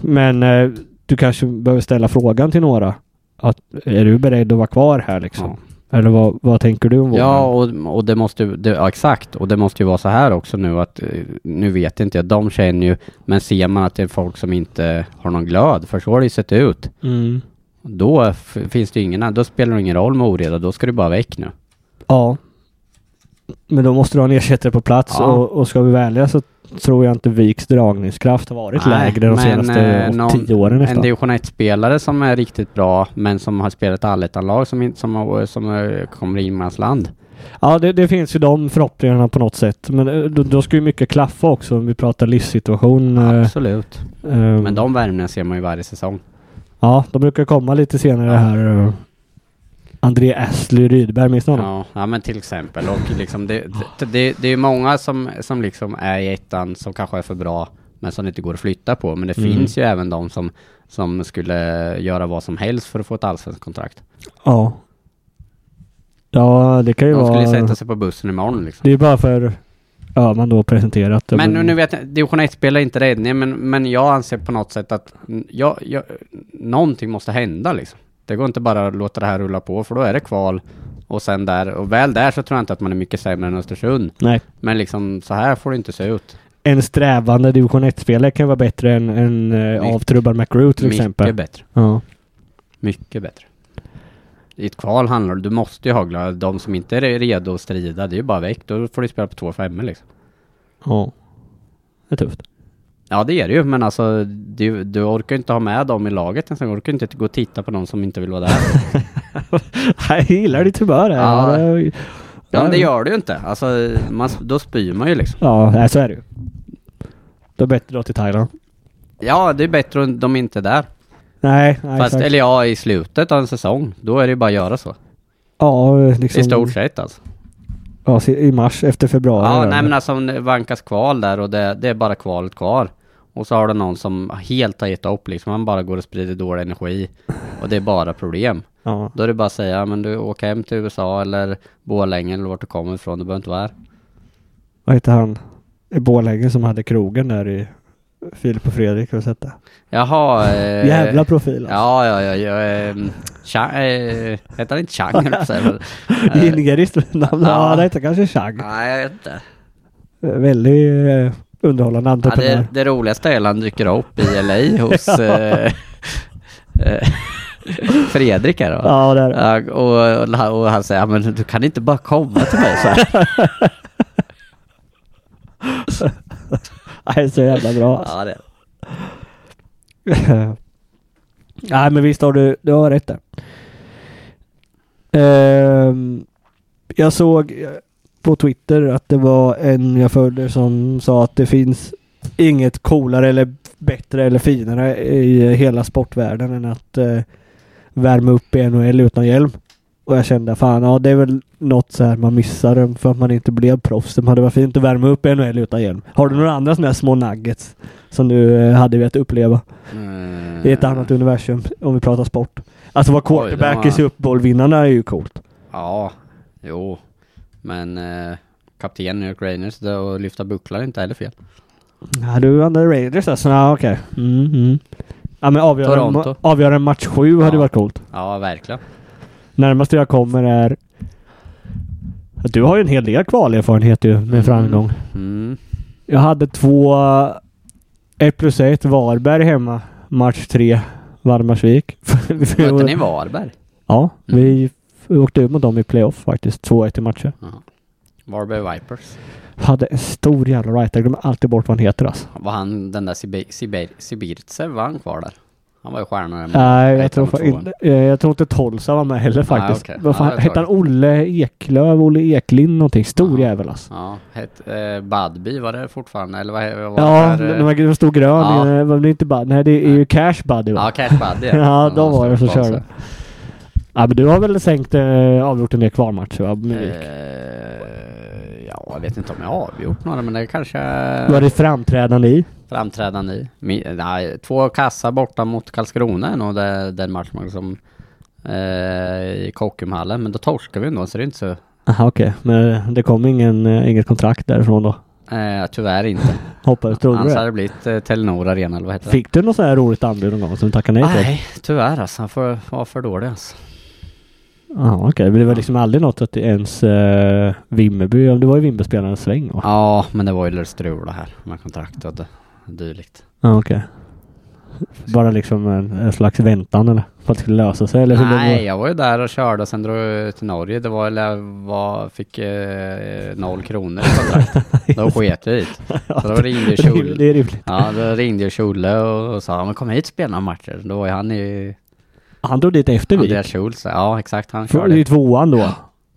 C: men eh, du kanske behöver ställa frågan till några. Att, är du beredd att vara kvar här liksom? Eller vad, vad tänker du om våren?
B: Ja, och, och det måste ju- det, ja, exakt. Och det måste ju vara så här också nu att, eh, nu vet inte jag, de känner ju, men ser man att det är folk som inte har någon glöd, för så har det ju sett ut.
C: Mm.
B: Då f- finns det ju ingen, då spelar det ingen roll med oreda, då ska du bara väck nu.
C: Ja. Men då måste du ha en ersättare på plats
B: Ja.
C: och, och ska vi välja så tror jag inte Viks dragningskraft har varit
B: Nej,
C: lägre de
B: men, eh,
C: senaste åt-
B: någon-
C: tio åren
B: En
C: nästan.
B: division 1-spelare som är riktigt bra, men som har spelat allettan-lag som, inte- som, har- som eh, kommer i inlandsland.
C: Ja, det, det finns ju de förhoppningarna på något sätt. Men eh, då, då ska ju mycket klaffa också om vi pratar livssituation. eh,
B: Absolut.
C: eh,
B: Men de värvningarna ser man ju varje säsong.
C: Ja, de brukar komma lite senare här. eh, André Astley Rydberg, minns ni honom?
B: Ja, ja men till exempel. Och liksom det, det, det, det är ju många som, som liksom är i ettan som kanske är för bra men som inte går att flytta på. Men det
C: Mm.
B: finns ju även de som, som skulle göra vad som helst för att få ett allsvenskt kontrakt.
C: Ja. Ja, det kan ju
B: De skulle
C: vara...
B: sätta sig på bussen imorgon liksom.
C: Det är ju bara för Öhman då presenterat. det,
B: Men nu, nu vet jag, division 1 spelar inte räddningen, men, men jag anser på något sätt att mm, jag, jag, någonting måste hända liksom. Det går inte bara att låta det här rulla på, för då är det kval och sen där, och väl där så tror jag inte att man är mycket sämre än Östersund.
C: Nej.
B: Men liksom, så här får det inte se ut.
C: en strävande division 1-spelare kan vara bättre än en eh, avtrubbad McRoe till exempel.
B: Mycket bättre.
C: Ja.
B: Mycket bättre. I ett kval handlar det, du måste ju ha glöd. De som inte är redo att strida, det är ju bara väck. Då får du spela på två femmor liksom.
C: ja. Det är tufft. (laughs)
B: Ja det är det ju, men alltså du, du orkar ju inte ha med dem i laget ens. Du orkar ju inte gå och titta på någon som inte vill vara
C: (laughs)
B: där.
C: Jag gillar ditt humör här. Ja,
B: ja men det gör du ju inte. Alltså, man, då spyr man ju liksom.
C: Ja, nej, så är det ju. Då är det bättre då till Thailand.
B: Ja, det är bättre om de inte är där.
C: Nej, nej
B: Fast,
C: exakt.
B: eller ja, i slutet av en säsong. Då är det ju bara att göra så.
C: Ja, liksom.
B: I stort sett alltså.
C: Ja, se- i mars efter februari.
B: Ja,
C: där.
B: nej men alltså om det vankas kval där och det, det är bara kvalet kvar. Och så har du någon som helt har gett upp liksom, han bara går och sprider dålig energi. Och det är bara problem.
C: ja.
B: Då är det bara att säga, "Ja, men du åker hem till USA eller Borlänge eller vart du kommer ifrån, du behöver inte vara här.
C: Vad heter han? I Borlänge som hade krogen där i Filip och Fredrik. Har du sett det?
B: Jaha. Eh,
C: Jävla profil alltså.
B: Ja, ja, ja, ja ehm, Chang, eh, heter han inte Chang höll jag på att säga, men-
C: (laughs) Det är Ingeriskt namn. Ja,
B: eh, Ja.
C: det heter kanske Chang.
B: Nej, jag vet inte.
C: Väldigt eh, underhållande
B: Ja,
C: entreprenör. (laughs)
B: det, det roligaste är när han dyker upp i LA hos eh, Eh, (laughs) Fredrik här då.
C: Ja, det är det.
B: Ja, och, och, han- och han säger, "Ja, men du kan inte bara komma till mig så
C: (laughs)
B: här.
C: Nej, så jävla bra. alltså.
B: Ja, det.
C: (laughs) Nej men visst har du, du har rätt där. Ehm, jag såg eh, på Twitter att det var en jag följde som sa att det finns inget coolare eller bättre eller finare i hela sportvärlden än att eh, värma upp i NHL utan hjälm. Och jag kände fan ja det är väl något så här man missar för att man inte blev proffs. Men det var fint att värma upp i NHL utan hjälm. Har du några andra sådana här små nuggets som du eh, hade velat uppleva?
B: Mm.
C: I ett annat universum om vi pratar sport. Alltså vad
B: Oj,
C: quarterback
B: det
C: i
B: var-
C: Super Bowl-vinnarna är ju coolt.
B: Ja, jo. Men eh, kapten New York Rangers, det att lyfta bucklar är inte heller fel.
C: Ja, du andra Raiders alltså. Ja, okej. Mm, mm. Ja, men avgöra, en,
B: Toronto.
C: ma- avgöra en match sju hade
B: Ja.
C: varit coolt.
B: Ja, verkligen.
C: Närmaste jag kommer är... Du har ju en hel del kvalerfarenhet ju med
B: Mm.
C: framgång. (laughs)
B: Mm.
C: Jag hade två... Ett plus ett Varberg hemma. Match tre (laughs) Valdemarsvik.
B: Möter ni Mm. Varberg?
C: Ja, vi f- åkte ut mot dem i playoff faktiskt. 2-1 i matcher.
B: Varberg Vipers.
C: Hade en stor jävla right. Jag glömmer alltid bort vad han heter alltså.
B: Var han den där Sibir- Sibir- Sibirtsev, var han kvar där? Han var ju stjärna där.
C: Nej, jag
B: Hette
C: tror,
B: han
C: fa-
B: tvåan?
C: inte, eh, jag tror inte Tolsa var med heller faktiskt.
B: Ah, okej.
C: Vad
B: Ja,
C: fan,
B: det är
C: hette han
B: klart.
C: Olle Eklöv, Olle Eklind någonting? Stor
B: Ja.
C: jävel alltså.
B: Ja, het, eh, Badby var det fortfarande, eller vad vad var det?
C: Ja,
B: där, eh,
C: de, de stod grön.
B: ja.
C: Ja. Var det inte Buddy? Nej, det är ju
B: Nej.
C: Cash Buddy va?
B: Ja, Cash Buddy.
C: (laughs) Ja, de var det som
B: stor fas
C: körde. Ja, men du har väl sänkt, eh, avgjort en del kvalmatcher
B: där.
C: va? Men-
B: Eh, ja, jag vet inte om jag har avgjort några, men det är kanske
C: Var det framträdande i?
B: framträdande i. Mi- Nej, två kassar borta mot Karlskrona är nog det- den matchen som eh, i Kockumhallen, men då torskade vi ändå, så det är inte så...
C: Aha, okej. Men det kom ingen, eh, inget kontrakt därifrån då?
B: Eh, tyvärr inte.
C: Hoppades, trodde du
B: Annars hade
C: det?
B: det blivit eh, Telenor Arena, eller vad heter det?
C: Fick du något sånt här roligt anbud någon gång som du tackade nej till?
B: Nej, tyvärr alltså. Han får vara för dålig alltså.
C: Jaha okej, men det var liksom aldrig något att det ens eh, Vimmerby, ja, det var ju Vimmerbyspelaren en sväng va?
B: Ja, men det var ju lite strul det här med kontrakt och d- dylikt.
C: Ja, okej. Bara liksom en, en slags väntan eller? På att det skulle lösa sig eller? hur det
B: Nej,
C: var?
B: jag var ju där och körde och sen drog jag till Norge. Det var, eller jag var, fick eh, noll kronor i kontrakt.
C: (laughs)
B: Då sket jag hit. Så då ringde
C: Rim- (laughs) Det
B: Kjol.
C: är rimligt.
B: Ja, då ringde ju Kjole och, och sa "Ja, men kom hit och spela några matcher. Då var ju han i...
C: Han drog dit efter
B: Andreas
C: Vik.
B: Kjol. så- Ja, exakt. Han
C: För-
B: körde.
C: I tvåan då.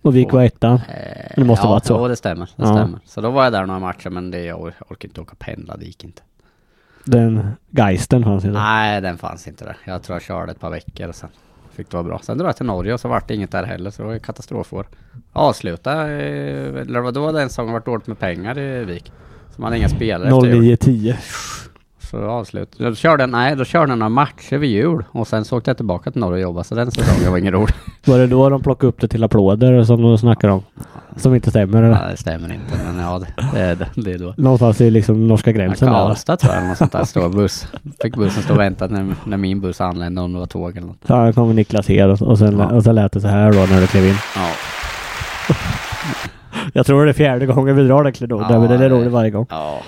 C: Och Vik var ettan.
B: Eh,
C: Det måste
B: ja,
C: varit så.
B: Ja, det stämmer. Det
C: Ja.
B: stämmer. Så då var jag där några matcher men det, jag or- orkade inte åka pendla. Det gick inte.
C: Den geisten fanns inte.
B: Nej, den fanns inte där. Jag tror jag körde ett par veckor och sen fick det vara bra. Sen drog jag till Norge och så vart det inget där heller, så det var ju katastrofår. Avsluta, eh, eller vad då den säsongen vart dåligt med pengar i Vik. Så man hade inga spelare efter jul.
C: 09-10.
B: Så avslut. Då körde jag, nej, då körde jag några matcher vid jul och sen så åkte jag tillbaka till Norge och jobbade, så den säsongen var ingen (laughs) rolig.
C: Var det då de plockade upp det till applåder som de snackar om? Som inte stämmer eller?
B: Nej, det stämmer inte, men ja, det, det, är det, det är då.
C: Någonstans i liksom norska
B: Ja,
C: gränsen där. va?
B: Karlstad tror jag, eller något sånt där, stor buss. Fick bussen stå och vänta när, när min buss anlände, om det var tåg eller något.
C: Så här kommer Niklas Hed och, och, sen,
B: Ja.
C: och sen lät det så här då när du klev in.
B: Ja.
C: Jag tror det är fjärde gången vi drar den klenoden,
B: Ja,
C: men den är
B: det-
C: rolig varje gång.
B: Ja.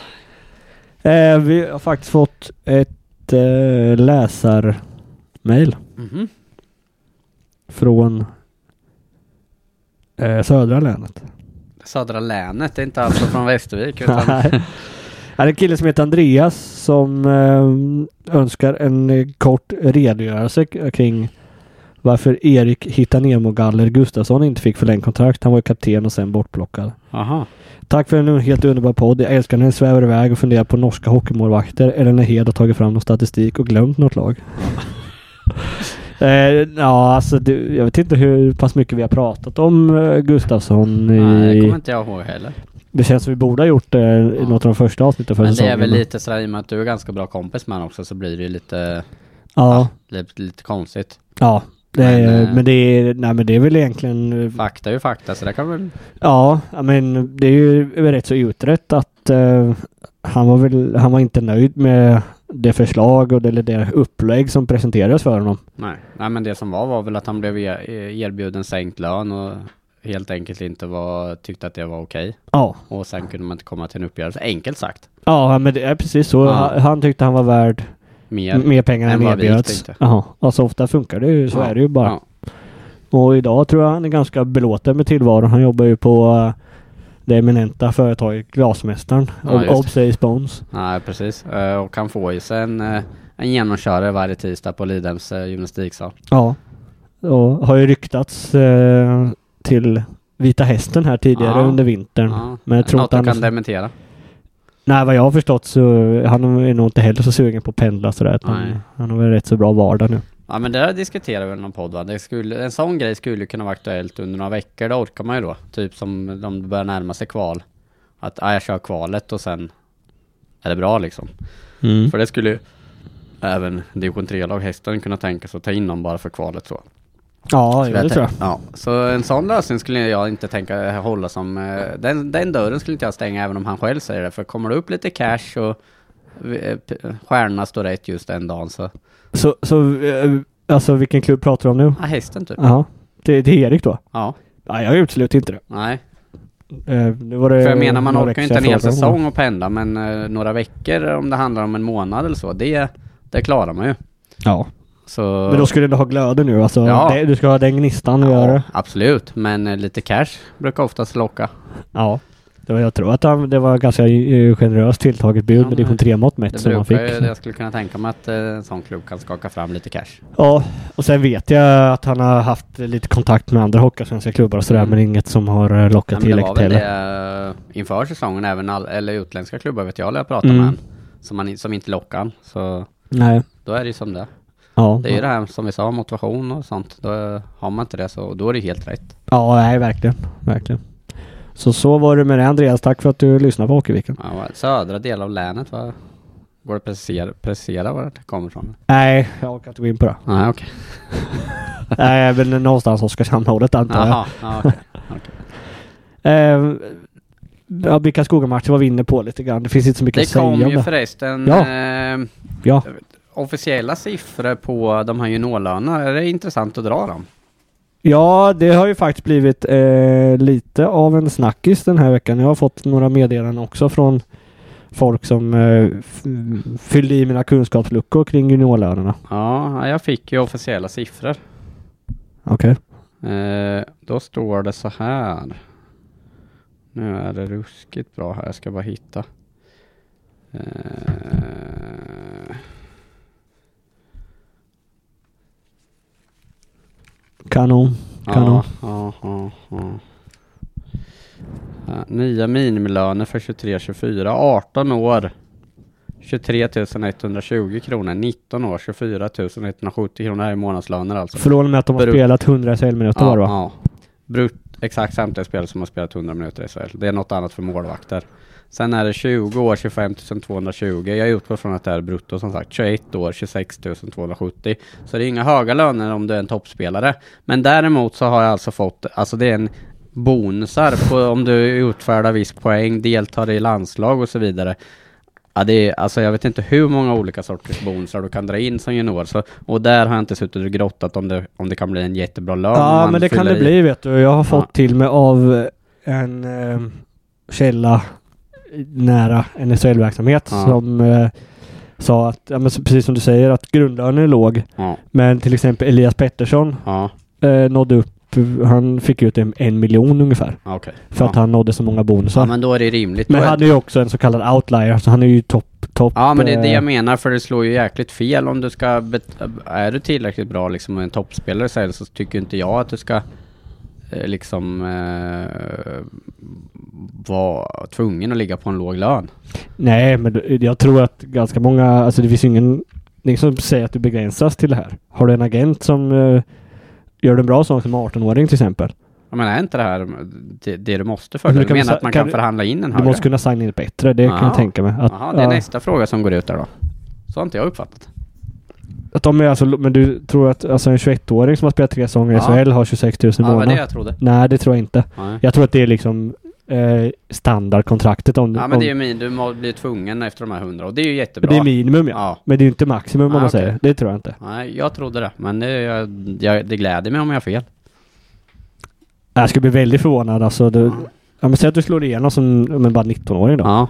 C: Eh, vi har faktiskt fått ett eh, läsarmail
B: Mhm.
C: från eh, södra länet.
B: Södra länet, det är inte alltså från Västervik
C: (laughs)
B: utan...
C: Nej. Ja, Det är en kille som heter Andreas som eh, önskar en eh, kort redogörelse k- kring varför Erik Hittanemo-Galler Gustafsson inte fick förlängt kontrakt. Han var ju kapten och sen bortplockad.
B: Aha.
C: Tack för en helt underbar podd. Jag älskar när ni svävar iväg och funderar på norska hockeymålvakter eller när Hed har tagit fram någon statistik och glömt
B: (laughs)
C: något lag. eh, ja, alltså det, jag vet inte hur pass mycket vi har pratat om eh, Gustafsson. I,
B: Nej, det kommer inte jag ihåg heller.
C: det känns som vi borde ha gjort eh, i något av de första avsnitten för
B: Men det
C: säsongen.
B: är väl lite sådär i och med att du är ganska bra kompis med honom också så blir det ju lite,
C: Ja,
B: lite, lite konstigt.
C: ja. Det,
B: Men,
C: men,
B: eh,
C: det är, nej, men det är väl egentligen... eh,
B: Fakta är ju fakta så det kan väl...
C: Ja, ja, men det är ju rätt så utrett att eh, han var väl, han var inte nöjd med det förslag och det, eller det upplägg som presenterades för honom.
B: Nej. Nej men det som var var väl att han blev er- erbjuden sänkt lön och helt enkelt inte var, tyckte att det var okej.
C: Ja,
B: Och sen kunde man inte komma till en uppgörelse, enkelt sagt.
C: ja men det är precis så.
B: Ja.
C: Han, han tyckte han var värd
B: mer.
C: mer pengar än
B: än vad vi
C: erbjöds.
B: tänkte.
C: Jaha. Alltså ofta funkar det ju, så
B: Ja.
C: är det ju bara.
B: Ja.
C: Och idag tror jag han är ganska belåten med tillvaron. Han jobbar ju på eh, det eminenta företaget Glasmästaren.
B: Ja,
C: Ob-
B: just det.
C: Obs Ace Bones.
B: Nej, precis. Eh, och han får ju sig en, eh, en genomkörare varje tisdag på Lidhems eh, gymnastiksal.
C: Ja. Och har ju ryktats eh, till Vita Hästen här tidigare
B: Ja.
C: under vintern.
B: Ja.
C: Men jag tror
B: Något
C: inte
B: du
C: han...
B: kan dementera.
C: Nej, vad jag har förstått så eh, han är nog inte heller så sugen på att pendla sådär. utan
B: Nej.
C: Han har väl rätt så bra vardag nu.
B: Ja men det där diskuterar vi i någon podd va? Det skulle, en sån grej skulle ju kunna vara aktuellt under några veckor, det orkar man ju då. Typ som om det börjar närma sig kval. Att ja, jag kör kvalet och sen är det bra liksom. För det skulle ju även division 3-lag hästen kunna tänka sig att ta in någon bara för kvalet så.
C: Ja,
B: Så
C: jo, det tror jag.
B: tänk- Ja, så en sån lösning skulle jag inte tänka hålla som... eh, Den, den dörren skulle inte jag stänga även om han själv säger det. För kommer det upp lite cash och eh, p- stjärnorna står rätt just den dagen så...
C: Så, så eh, alltså vilken klubb pratar du om nu?
B: Ja, hästen typ.
C: Ja, det, det är Erik då?
B: Ja,
C: Ja, jag utesluter inte det.
B: nej.
C: Eh, det var det
B: För jag menar man
C: några
B: orkar ju inte
C: veckor
B: en
C: sedan
B: hel
C: jag frågade om.
B: säsong och pendla men eh, några veckor om det handlar om en månad eller så, det, det klarar man ju.
C: Ja.
B: Så...
C: Men då skulle du ha glöden nu alltså?
B: Ja.
C: Det, du ska ha den gnistan och göra det?
B: Absolut, men eh, lite cash brukar oftast locka.
C: Ja. Det var, jag tror att han, det var ganska eh, generöst tilltaget bud
B: Ja,
C: med division
B: men
C: 3-mått mätt
B: Det
C: som han
B: brukar
C: fick.
B: ju, jag skulle kunna tänka mig att eh, en sån klubb kan skaka fram lite cash.
C: Ja, och sen vet jag att han har haft lite kontakt med andra hockeysvenska klubbar och sådär
B: Mm.
C: men inget som har eh,
B: Ja,
C: lockat
B: men det
C: tillräckligt
B: var väl
C: heller.
B: det eh, inför säsongen, även all, eller utländska klubbar vet jag, när jag pratade
C: Mm.
B: med han, som, han, i- som inte lockar han. Så
C: Nej.
B: då är det ju som det är.
C: Ja.
B: Det är ju det här som vi sa, motivation och sånt. Då eh, har man inte det så då är det helt rätt.
C: Ja, nej verkligen. Verkligen. Så så var det med det Andreas. Tack för att du lyssnade på Hockeyveckan.
B: Ja, vad- södra del av länet, va? Går det att precisera, precisera var det kommer ifrån?
C: Nej, jag orkar inte gå in
B: (laughs)
C: på det.
B: Nej, okej.
C: nej, men någonstans Oskarshamnhållet antar jag.
B: Jaha, ja, okej.
C: Eh, ja, vilka skogamatcher var vi inne på lite grann? Det finns inte så mycket att
B: Det
C: säga om
B: kom ju
C: det.
B: förresten
C: Ja.
B: eh,
C: Ja.
B: officiella siffror på de här juniorlönerna. Är det intressant att dra dem?
C: ja, det har ju faktiskt blivit eh, lite av en snackis den här veckan. Jag har fått några meddelanden också från folk som eh, f- fyllde i mina kunskapsluckor kring juniorlönerna.
B: Ja, jag fick ju officiella siffror.
C: Okej.
B: Eh, då står det så här. Nu är det ruskigt bra här, jag ska bara hitta. Eh,
C: Kanon. Kanon.
B: Ja, ja, ja, ja. Ja, Nya minimilöner för 23-24. 18 år 23 120 kronor. 19 år 24 170 kronor. Det här är månadslöner alltså.
C: Från och med att de har
B: Bru-
C: spelat 100 SHL-minuter var det va?
B: ja. Brut, exakt samtliga spelare som har spelat 100 minuter i SHL. Det är något annat för målvakter. Sen är det 20 år 25 220. Jag utgår från att det är brutto som sagt. 21 år 26 270. Så det är inga höga löner om du är en toppspelare. Men däremot så har jag alltså fått, alltså det är en bonusar på om du utfärdar viss poäng, deltar i landslag och så vidare. Ja, det är, alltså jag vet inte hur många olika sorters bonusar du kan dra in som junior. Så, och där har jag inte suttit och grottat om det, om det kan bli en jättebra lön. om
C: Ja,
B: man
C: men det kan
B: fyller
C: det
B: i.
C: bli vet du. Jag har fått
B: Ja.
C: till mig av en eh, källa nära en SHL-verksamhet
B: Ja.
C: som eh, sa att, ja, men så- precis som du säger, att grundlönen är låg.
B: Ja,
C: Men till exempel Elias Pettersson
B: ja
C: eh, nådde upp, han fick ut en, en miljon ungefär.
B: ja, okej.
C: För att
B: ja.
C: han nådde så många bonusar.
B: ja,
C: men
B: men då är det rimligt. Då
C: han
B: är-
C: hade ju också en så kallad outlier, så han är ju topp, topp.
B: Ja men det är det
C: eh,
B: jag menar för det slår ju jäkligt fel om du ska... bet- Är du tillräckligt bra liksom och en toppspelare så, här, så tycker inte jag att du ska eh, liksom eh, vara tvungen att ligga på en låg lön.
C: Nej, men du- jag tror att ganska många, alltså det finns ju ingen, det är ingen som säger att du begränsas till det här. Har du en agent som eh, gör en bra sak som 18-åring till exempel.
B: Jag menar är inte det här det, det du måste för
C: Men
B: dig?
C: du
B: Du
C: kan
B: menar
C: sa-
B: att man
C: kan
B: kan,
C: du-
B: förhandla in en
C: Du
B: högre?
C: måste kunna signa in bättre, det kan jag
B: Aha.
C: tänka mig. Att,
B: Jaha, det är
C: ja,
B: nästa fråga som går ut där då. Så har inte jag uppfattat.
C: att de är alltså, men du tror att alltså en 21-åring som har spelat tre säsonger i
B: Ja.
C: SHL har 26 000 i
B: Ja, det var det
C: månaden?
B: jag trodde.
C: Nej, det tror jag inte.
B: Nej.
C: Jag tror att det är liksom eh, standardkontraktet om,
B: Ja,
C: om
B: men det är ju min, du må- blir tvungen efter de här hundra och det är ju jättebra.
C: det är minimum ja.
B: Ja.
C: Men det är ju inte maximum om
B: Ah,
C: man
B: okej.
C: säger. Det tror jag inte.
B: Nej, jag trodde det. Men det, jag, jag, det gläder mig om jag har fel.
C: Jag skulle bli väldigt förvånad alltså. Du, ja. men säg att du slår igenom som ja, men bara 19-åring då.
B: Ja.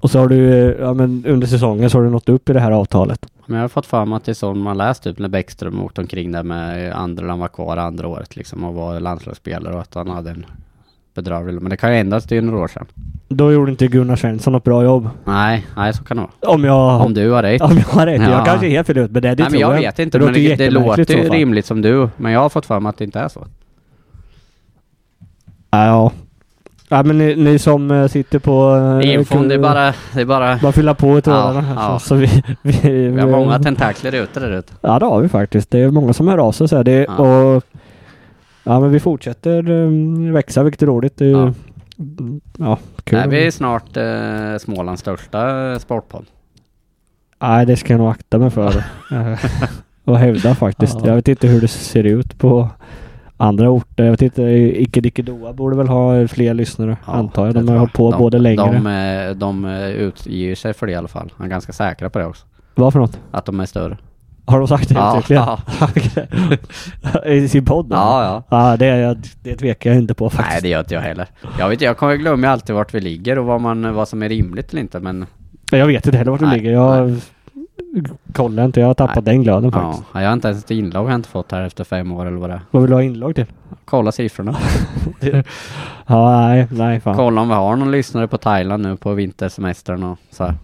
C: Och så har du, eh, ja men under säsongen så har du nått upp i det här avtalet.
B: Men jag har fått för mig att det är sån man läst typ när Bäckström åkte omkring där med andra, han var kvar andra året liksom och var landslagsspelare och att han hade en bedrövlig... Men det kan ju ändras, det är ju några år sedan.
C: Då gjorde inte Gunnar Svensson något bra jobb.
B: Nej, nej så kan det vara.
C: Om jag...
B: Om du har rätt.
C: Om jag har rätt.
B: Ja.
C: Jag kanske är helt fel ut, men det, det
B: nej men
C: tror
B: jag vet inte,
C: Det
B: men
C: låter
B: det, det
C: jättemärkligt
B: låter
C: i
B: ju
C: så fall.
B: rimligt som du. Men jag har fått för mig att det inte är så.
C: Ja. Ja men ni, ni som eh, sitter på... eh,
B: Infon, det är bara... Det är bara...
C: Bara fylla på ett
B: Ja,
C: öronen här,
B: ja.
C: så, så vi, vi,
B: Vi har många
C: Eh,
B: tentakler ute där ute.
C: Ja det har vi faktiskt. Det är många som hör av sig så här. Det,
B: Ja.
C: och, ja men vi fortsätter eh, växa vilket är roligt. Det är,
B: Ja.
C: ja. ja, kul.
B: Nej, vi är snart eh, Smålands största eh, sportpodd.
C: Nej, det ska jag nog akta mig för.
B: (laughs)
C: Eh, och hävda faktiskt.
B: Ja.
C: Jag vet inte hur det ser ut på andra orter. Jag vet inte. Icke Dicke Doa borde väl ha fler lyssnare
B: Ja,
C: antar jag.
B: det
C: De
B: tror
C: har
B: jag.
C: hållit på
B: De-
C: både längre.
B: De, eh, de eh, utger sig för det i alla fall. Jag är ganska säkra på det också.
C: Vad för något?
B: Att de är större.
C: Har de sagt det
B: Ja,
C: uttryckligen?
B: ja.
C: (laughs) I sin podd? eller?
B: ja, ja.
C: Ja, det, är jag- det tvekar jag inte på
B: Nej,
C: faktiskt.
B: det gör inte jag heller. Jag vet inte, jag kommer glömma alltid vart vi ligger och vad, man, vad som är rimligt eller inte, men
C: jag vet inte heller vart du
B: Nej,
C: ligger. Jag kollar inte. Jag har tappat den glöden
B: ja,
C: faktiskt.
B: jag har inte ens ett inlogg har jag inte fått här efter fem år eller vad det är.
C: Vad vill du ha inlogg till? (laughs)
B: Kolla siffrorna.
C: Ja, nej, nej fan.
B: Kolla om vi har någon lyssnare på Thailand nu på vintersemestern och så här.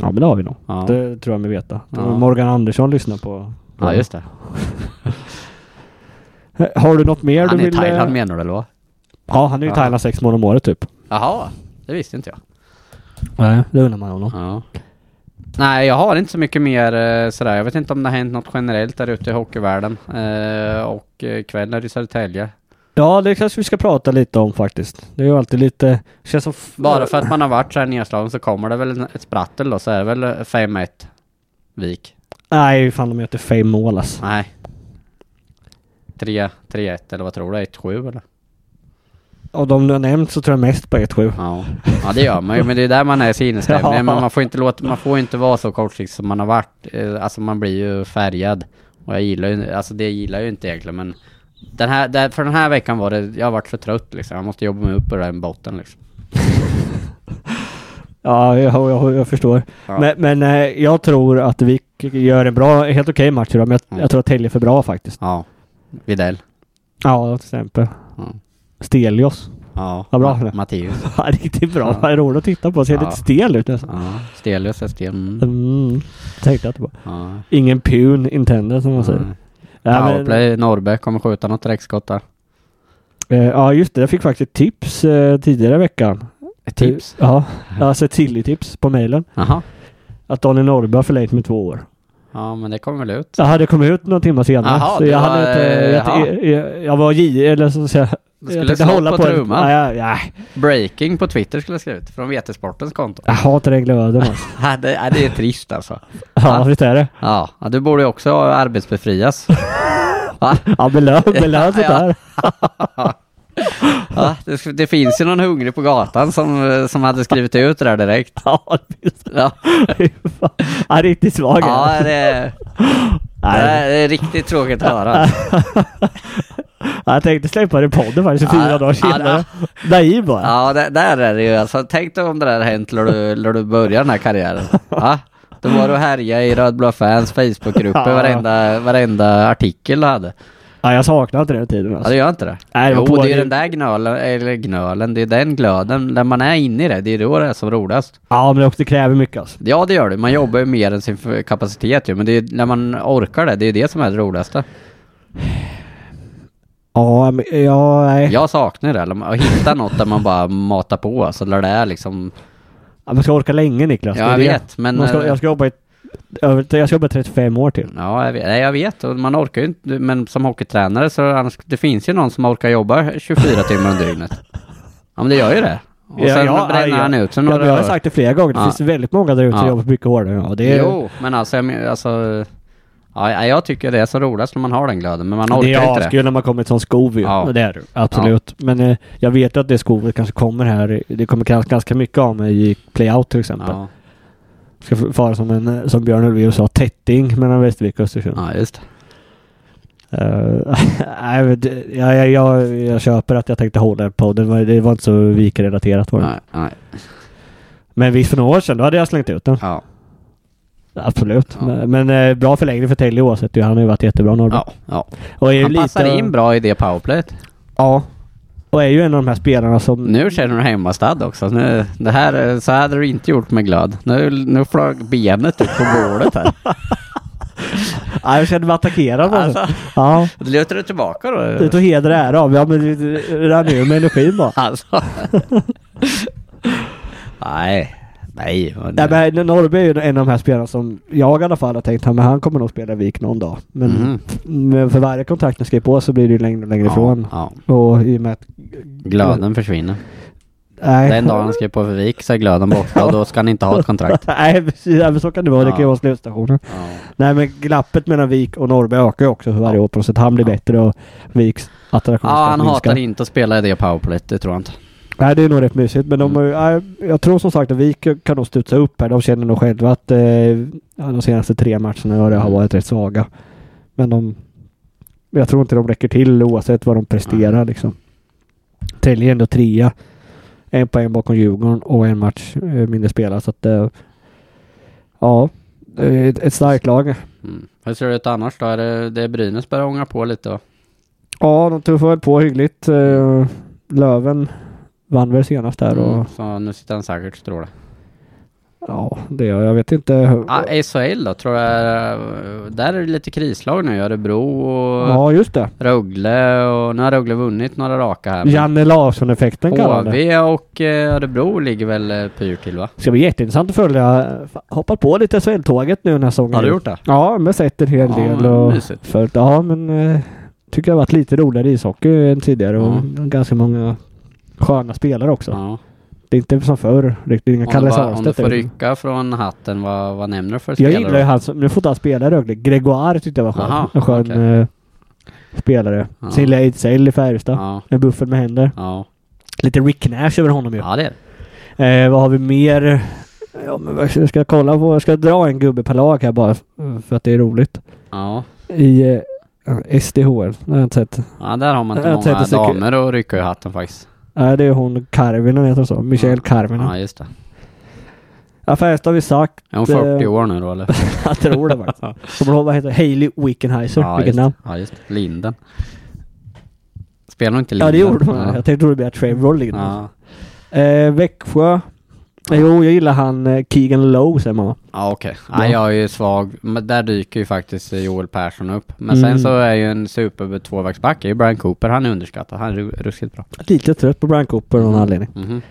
C: Ja, men det har vi nog.
B: Ja.
C: Det tror jag mig veta.
B: Ja.
C: Morgan Andersson lyssnar på.
B: ja, just det.
C: (laughs) Har du något mer
B: Han
C: du
B: är i
C: vill... eh,
B: Thailand menar du eller vad?
C: Ja, han är i
B: Ja.
C: Thailand sex månader om året typ.
B: Jaha, det visste inte jag.
C: Nej, det undrar man honom.
B: Ja. Nej, jag har inte så mycket mer eh, sådär. Jag vet inte om det har hänt något generellt där ute i hockeyvärlden. Eh, och eh, ikväll är det Södertälje.
C: Ja, det kanske vi ska prata lite om faktiskt. Det är ju alltid lite... Känns som... f-
B: Bara för att man har varit så här nedslagen så kommer det väl en- ett sprattel då, så är det väl 5-1 Vik.
C: Nej, fan de möter fem mål alltså.
B: Nej. 3-1 eller vad tror du? 1-7 eller?
C: Och de du har nämnt så tror jag mest på 1-7.
B: Ja. ja, det gör man ju. Men det är där man är i sinnesstämningen.
C: (laughs) Ja.
B: Men man får inte låta, man får inte vara så kortsiktig som man har varit. Eh, Alltså man blir ju färgad. Och jag gillar ju, alltså det gillar jag ju inte egentligen men den här, där, för den här veckan var det, jag har varit så trött liksom. Jag måste jobba mig upp ur den botten liksom.
C: Ja, jag, jag, jag förstår.
B: Ja.
C: Men, men eh, jag tror att vi k- gör en bra, helt okej match idag, men jag,
B: Mm.
C: jag tror att Telge är för bra faktiskt.
B: Ja. Videll.
C: Ja, till exempel.
B: Ja.
C: Stelios.
B: Ja.
C: Vad bra.
B: Ma- Mattias.
C: (laughs) Ja, Riktigt bra.
B: Ja.
C: Vad roligt att titta på. Ser
B: Ja.
C: lite stel ut nästan.
B: Ja. Stelius är stel. Mm.
C: Mm, tänkte jag inte på.
B: Ja.
C: Ingen pun intended som man säger.
B: Mm.
C: Ja, men-
B: Powerplay, Norrby kommer skjuta något direktskott där.
C: eh, ja, just det. Jag fick faktiskt ett tips eh, tidigare i veckan.
B: Ett tips?
C: Ja, alltså ett tips på mejlen.
B: Jaha.
C: Att Daniel Norrby har förlängt med två år.
B: Ja men det kommer väl ut.
C: Jag hade kommit ut några timmar senare.
B: Jaha,
C: så
B: det
C: jag,
B: var- eh,
C: hade inte,
B: jaha.
C: jag, jag, jag var J, eller så att säga.
B: Du
C: jag
B: skulle
C: tänkte
B: slå på,
C: en-
B: trumman.
C: Nej, jag, nej,
B: Breaking på Twitter skulle jag skriva ut, från Vetesportens konto.
C: jag hatar den glöden alltså.
B: Ja, det, ja, det är trist alltså.
C: (laughs) Ja, visst är det?
B: Ja, ja, du borde ju också arbetsbefrias.
C: Ja, belön, belön sånt
B: Ja.
C: där.
B: Ja, det, sk- det finns ju någon hungrig på gatan som, eh, som hade skrivit ut det där direkt.
C: (laughs) Ja, visst.
B: Ja,
C: Fan. Ja, riktigt svag är
B: ja
C: jag.
B: det, det
C: Nej,
B: är det är riktigt tråkigt att höra.
C: ja, Jag tänkte släppa det i podden faktiskt fyra
B: Ja,
C: dagar
B: ja,
C: senare. Naiv bara.
B: Ja, det, där är det ju alltså. Tänk dig om det där hänt när du, när du börjar den här karriären. Ja, då var du och härjade i Rödblå Fans Facebookgrupper,
C: Ja.
B: varenda, varenda artikel du hade.
C: Ja, jag saknar inte den tiden
B: Ja,
C: alltså.
B: det gör inte det.
C: Nej, det var
B: jo,
C: på-
B: det är ju den där gnölen, eller gnölen, det är den glöden, när man är inne i det, det är då det är som roligast.
C: Ja, men det också kräver mycket alltså.
B: Ja, det gör det. Man jobbar ju mer än sin f- kapacitet ju, men det är när man orkar det, det är det som är det roligaste.
C: Ja, men ja, nej.
B: Jag saknar det, eller att hitta något där man bara matar på, alltså där det är liksom...
C: Ja, man ska orka länge Niklas.
B: Ja,
C: Det är
B: jag
C: det.
B: vet, men... eh,
C: Man ska, jag ska jobba i... över- Jag ska jobba 35 år till.
B: Ja, jag vet, nej, jag vet. Och man orkar ju inte, men som hockeytränare så annars, det finns ju någon som orkar jobba 24 timmar om dygnet. Ja, men det gör ju det. Och
C: Ja,
B: sen
C: ja,
B: bränner
C: ja,
B: han ut sig
C: Ja,
B: några
C: men jag har
B: öre.
C: sagt det flera gånger. Det
B: Ja.
C: finns väldigt många där ute som
B: Ja.
C: jobbar mycket hårdare. Ja, det är...
B: Jo, men alltså, jag, men- alltså ja, ja, jag tycker det är så roligast när man har den glöden, men man orkar
C: det är
B: inte det.
C: askul när man kommer i ett sånt skov ju.
B: Ja.
C: Men Det är det. Absolut. Men eh, jag vet att det skovet kanske kommer här. Det kommer krävas ganska mycket av mig i playout till exempel.
B: Ja,
C: Ska f- fara som en, eh, som Björn Ulvaeus sa, tätting mellan Västervik och Östersund.
B: ja, just det.
C: Eh, (laughs) nej, men det- jag, jag, jag, jag köper att jag tänkte hålla på. Det var, det var inte så vikrelaterat var det.
B: Nej, nej.
C: Men visst för några år sedan, då hade jag slängt ut den.
B: Ja.
C: Absolut.
B: Ja.
C: Men, men eh, bra förlängning för Telly oavsett. ju. Han har ju varit jättebra Norrby.
B: ja, ja.
C: Och är ju
B: Han passar
C: lite-
B: in bra i det powerplayet.
C: Ja. Och är ju en av de här spelarna som...
B: Nu känner du hemmastad också. Nu, det här, så här hade du inte gjort med glöd. Nu, nu flög benet ut på bordet här.
C: Ja, jag känner mig attackerad. Alltså.
B: Alltså, (laughs)
C: Ja.
B: lutar du tillbaka
C: Du
B: då?
C: tog heder och ära av mig. Ja men det- det rann ur med energin bara. (laughs)
B: Alltså. Nej. (laughs) Nej. men-
C: Nej men Norrby är ju en av de här spelarna som jag i alla fall har tänkt att han kommer nog spela i VIK någon dag. Men, Mm.
B: Mhm.
C: men för varje kontrakt ni skriver på så blir det ju längre och längre ifrån.
B: Ja, ja.
C: Och i och med att...
B: Glöden försvinner.
C: Nej.
B: Den dagen han skrev på för Vik så är glöden borta och då ska han inte ha ett kontrakt.
C: (laughs) Nej precis, Ja, men så kan det vara. Det kan ju
B: Ja.
C: vara slutstationen.
B: Ja.
C: Nej men glappet mellan Vik och Norrby ökar ju också för varje år på något sätt. Han blir
B: Ja.
C: bättre och Viks attraktionskraft
B: Ja, han
C: minskar.
B: hatar inte att spela i det powerplayet, det tror jag inte.
C: Nej det är nog rätt mysigt men de, mm. jag tror som sagt att Vik kan nog studsa upp här. De känner nog själva att eh, ja, de senaste tre matcherna har det har varit rätt svaga. Men de... Jag tror inte de räcker till oavsett vad de presterar liksom. Tälje är ändå trea. En poäng bakom Djurgården och en match eh, mindre spelad så att... Eh, ja. eh, Ett, ett starkt lag.
B: Mm. Hur ser det ut annars då? Är det, det är Brynäs börjar ånga på lite va?
C: Ja, de tuffar väl på hyggligt. Eh, Löven vann väl senast där och...
B: Mm. Så nu sitter han säkert stråla.
C: Ja, det gör jag. Jag vet inte.
B: Ah, SHL då, tror jag. Där är det lite krislag nu. Örebro och
C: Ja, just det.
B: Rögle och nu har Rögle vunnit några raka här. men
C: Janne Larsson-effekten kallar han det.
B: HV och eh, Örebro ligger väl eh, pyrt till va?
C: Det ska bli jätteintressant att följa. Fan, Hoppat på lite SHL-tåget nu den här säsongen.
B: Har du gjort det?
C: Ja, men sett en hel
B: Ja,
C: del
B: men
C: och
B: mysigt.
C: följt. Ja, men eh, tycker jag har varit lite roligare ishockey än tidigare och
B: Ja.
C: ganska många sköna spelare också.
B: Ja.
C: Det är inte som förr riktigt. Inga
B: Om, du
C: Kalle
B: bara, om du
C: Sahlstedt.
B: får
C: är-
B: rycka från hatten, vad, vad nämner du för
C: Jag
B: spelare?
C: gillar ju han som, nu får inte han spela i Rögle. Gregoire tyckte jag var skön.
B: Aha,
C: En skön
B: okej.
C: eh, spelare.
B: Ja.
C: Sin lilla Ejdsell i Färjestad.
B: Ja,
C: En buffel med händer.
B: ja.
C: Lite Rick Nash över honom ju.
B: ja det är det.
C: Eh, vad har vi mer? Ja, men vad ska jag ska kolla på? Jag ska dra en gubbe per lag här bara f- för att det är roligt.
B: Ja.
C: I eh, SDHL. Det har jag inte sett.
B: ja, där har man inte
C: Jag
B: många
C: tänkte så-
B: damer att rycka ur hatten faktiskt.
C: Nej, det är hon Karvinen heter hon så. Michelle Karvinen.
B: Ja, just det.
C: Ja, Färjestad har vi sagt.
B: Är hon
C: Det-
B: 40 år nu då eller?
C: (laughs) Jag tror
B: (laughs)
C: det faktiskt. Kommer du ihåg vad heter? Hailey Wickenheiser.
B: Ja,
C: Vilket
B: just,
C: namn.
B: ja, just det. Linden. Spelar hon inte
C: Ja,
B: Linden?
C: det gjorde hon.
B: Ja.
C: Jag tänkte att det blir Trevor Lind.
B: Ja.
C: Eh, Växjö. Eh, Jo, jag gillar han eh, Keegan Lowe säger man va?
B: Ja okej. Nej, jag är ju svag. Men där dyker ju faktiskt eh, Joel Persson upp. Men
C: Mm.
B: sen så är ju en super tvåvägsback, är ju Brian Cooper. Han är underskattad. Han är ru- ruskigt bra.
C: Lite trött på Brian Cooper av någon
B: Mm.
C: anledning.
B: Mhm.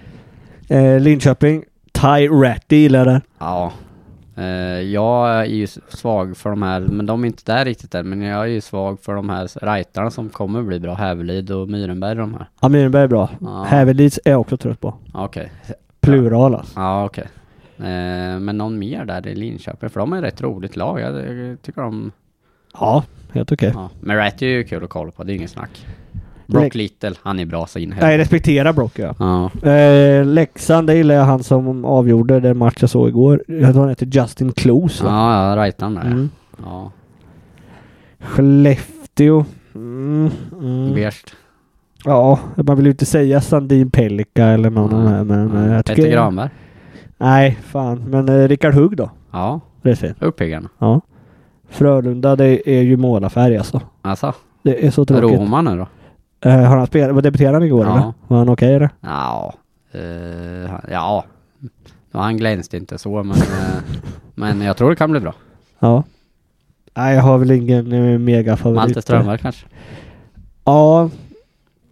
C: Eh, Linköping. Ty Ratty gillar jag där.
B: Ja. Eh, jag är ju s- svag för de här, men de är inte där riktigt än. Men jag är ju svag för de här rightarna som kommer bli bra. Hävelid och Myrenberg de här.
C: Ja, Myrenberg är bra.
B: Ja.
C: Hävelits är jag också trött på.
B: Ja, Okej.
C: Plural alltså.
B: Ja okej. Eh, men någon mer där i Linköping? För de är ett rätt roligt lag. Jag, jag tycker de...
C: Ja, helt okej.
B: Ja. Men Rat är ju kul att kolla på, det är ingen snack. Brock Little, han är bra så in i
C: Nej,
B: helvete.
C: respektera Brock ja.
B: Ja.
C: Eh, Leksand, det gillar jag han som avgjorde den match jag såg igår. Jag tror han heter Justin Klose. va?
B: Ja, ja, rightaren där.
C: Mm.
B: Ja,
C: Skellefteå. Mm, mm.
B: beige.
C: Ja, man vill ju inte säga Sandin Pelika eller någon av de här men eh,
B: Mm.
C: jag
B: Petter
C: tycker...
B: Granberg.
C: Nej, fan. Men eh, Rickard Hugg då?
B: Ja,
C: Det är fint.
B: uppiggarna.
C: Ja. Frölunda, det är ju målarfärg alltså.
B: Alltså,
C: Det är så tråkigt.
B: Roma nu då?
C: Eh, har han spelat? Var debuterade han igår
B: Ja.
C: eller? Var han okej eller?
B: Ja, eh, han- ja. Nu, han glänste inte så men,
C: (laughs)
B: eh, men jag tror det kan bli bra.
C: Ja. Nej, jag har väl ingen eh, megafavorit.
B: Malte Strömberg kanske?
C: Ja.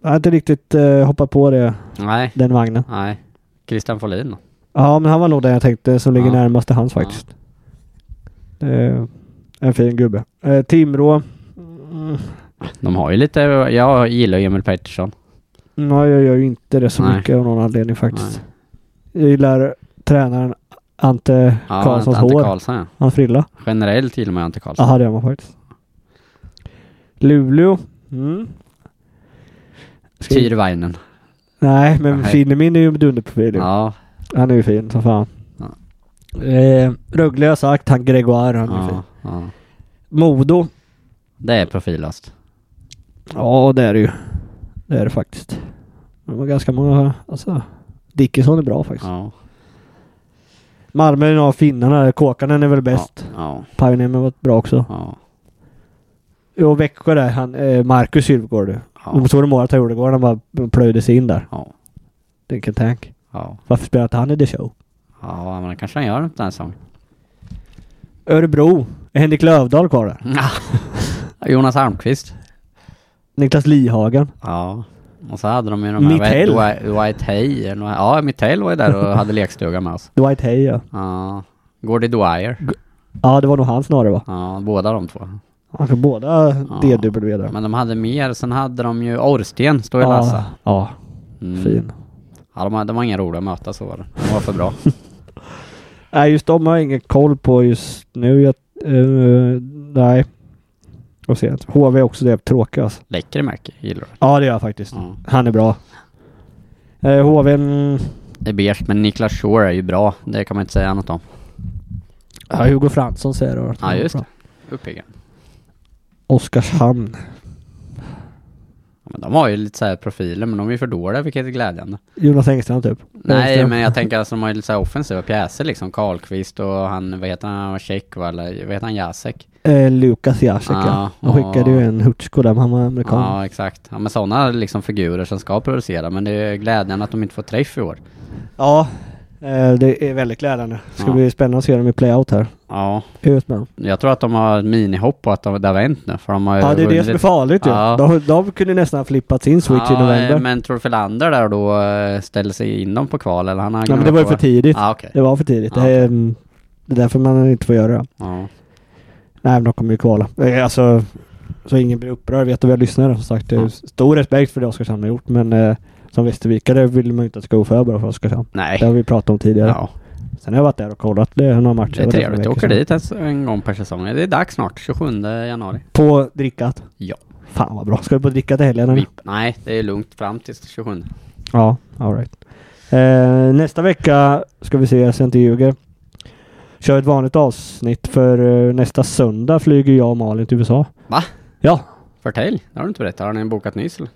C: Jag har inte riktigt eh, hoppat på det,
B: Nej,
C: den vagnen.
B: nej. Christian Folin då?
C: Ja, men han var nog den jag tänkte som ligger
B: Ja.
C: närmast till hans faktiskt. Eh, en fin gubbe. Eh, Timrå. Mm,
B: De har ju lite, jag gillar ju Emil Pettersson.
C: nej, jag gör ju inte det så
B: Nej.
C: mycket av någon anledning faktiskt. Jag gillar tränaren Ante
B: Ja,
C: Karlssons
B: Ante
C: hår.
B: Karlsson ja.
C: Han frilla.
B: Generellt gillar man ju Ante Karlsson.
C: Jaha, det gör man faktiskt. Luleå. Mm. Ska-
B: Tyrväinen.
C: Nej, men
B: Nej.
C: Finnemin är ju en dunderprofil. ju.
B: Ja,
C: Han är ju fin som fan.
B: Ja.
C: Eh, Rögle har jag sagt, han Gregoire, han är fin.
B: ja, ja.
C: Modo.
B: Det är profilast.
C: Ja, det är det ju. Det är det faktiskt. Det var ganska många... Alltså, Dickinson är bra faktiskt.
B: Ja.
C: Malmö är en av finnarna. Kåkanen är väl bäst.
B: Ja.
C: Pajaniemi var bra också.
B: Ja.
C: Och Växjö där, han, eh, Marcus Sylvegård.
B: Ja.
C: De såg det målet han gjorde igår. Han bara plöjde sig in där.
B: Ja.
C: Vilken tank.
B: Ja.
C: Varför spelar inte han i The Show?
B: Ja, men kanske han gör något den här säsongen. (laughs)
C: Örebro. Är Henrik Lövdahl kvar där?
B: Jonas Almqvist.
C: Niklas Lihagen.
B: Ja. Och så hade de ju de här...
C: Mittell.
B: Dwight- Dwight Hay. eller några- Ja, Mittell var ju där och hade lekstuga med oss.
C: Dwight Hay ja.
B: Ja. Gordy Dwyer.
C: Ja, det var nog han snarare va?
B: Ja, båda de två.
C: Han kan båda DW där.
B: Men de hade mer. Sen hade de ju Orsten, står ju Lassa.
C: Ja, ja,
B: Mm.
C: fin.
B: Ja, de, hade- de var inga roliga att möta så var det. De var för bra.
C: Nej, just de har jag ingen koll på just nu. Jag, eh, nej. Och sen, HV är också det tråkiga alltså.
B: Lekkerimäki gillar du?
C: Ja, det gör jag faktiskt.
B: Ja.
C: Han är bra. Eh, HV, mm,
B: Det är beige, men Niklas Shore är ju bra. Det kan man inte säga annat om.
C: ja, Hugo Fransson säger det.
B: Ja, just det. Uppigen.
C: Oskarshamn.
B: Ja, men de har ju lite så här profiler, men de är ju för dåliga, vilket är glädjande.
C: Jonas Engström typ.
B: Nej,
C: Engström.
B: men jag tänker att de har ju lite så här offensiva pjäser liksom. Karlqvist och han, vad heter han, han, var tjeck va? Eller vad heter han, Jacek?
C: Eh, Lukas Jacek ja.
B: Ja,
C: Han skickade ju en Hutsko där, men han var amerikan.
B: Ja, exakt. Ja, men sådana liksom figurer som ska producera, men det är glädjande att de inte får träff i år.
C: Ja, eh, det är väldigt glädjande. Ska
B: Ja.
C: bli spännande att se dem i playout här.
B: Ja,
C: Ut med dem.
B: jag tror att de har ett minihopp på att de, det har vänt nu, för de har ju
C: Ja, det är det
B: vunnit
C: som är
B: lite-
C: farligt ju.
B: Ja.
C: De, de kunde nästan ha flippat sin switch i
B: Ja,
C: november.
B: Men tror du Felander där då eh, ställer sig in dem på kval eller han har
C: ja, men det var ju för tidigt.
B: Ja, Ah, okej.
C: Det var för tidigt.
B: Ja.
C: Det, är, mm, det är därför man inte får göra det.
B: Ja.
C: Nej, men de kommer ju kvala. Eh, Alltså, så ingen blir upprörd. Vet du vad jag lyssnar som sagt. Det är ju
B: Ja.
C: stor respekt för det Oskarshamn har gjort, men eh, som västervikare vill man ju inte att det ska gå för bra för Oskarshamn.
B: Nej.
C: Det har vi pratat om tidigare.
B: Ja,
C: Sen har jag varit där och kollat det är några matcher.
B: det är
C: Jag var där för
B: trevligt. Jag
C: veckor
B: åker
C: sedan.
B: dit en, en gång per säsong. Det är dags snart, 27 januari.
C: På drickat?
B: Ja.
C: Fan vad bra. Ska vi på drickat i helgen? eller?
B: Vipp. Nej, det är lugnt fram till 27.
C: Ja, alright. Eh, nästa vecka ska vi se, så jag inte ljuger. Kör ett vanligt avsnitt för eh, nästa söndag flyger jag och Malin till USA.
B: Va?
C: Ja.
B: Förtälj, det har du inte berättat. Har ni bokat nyss eller?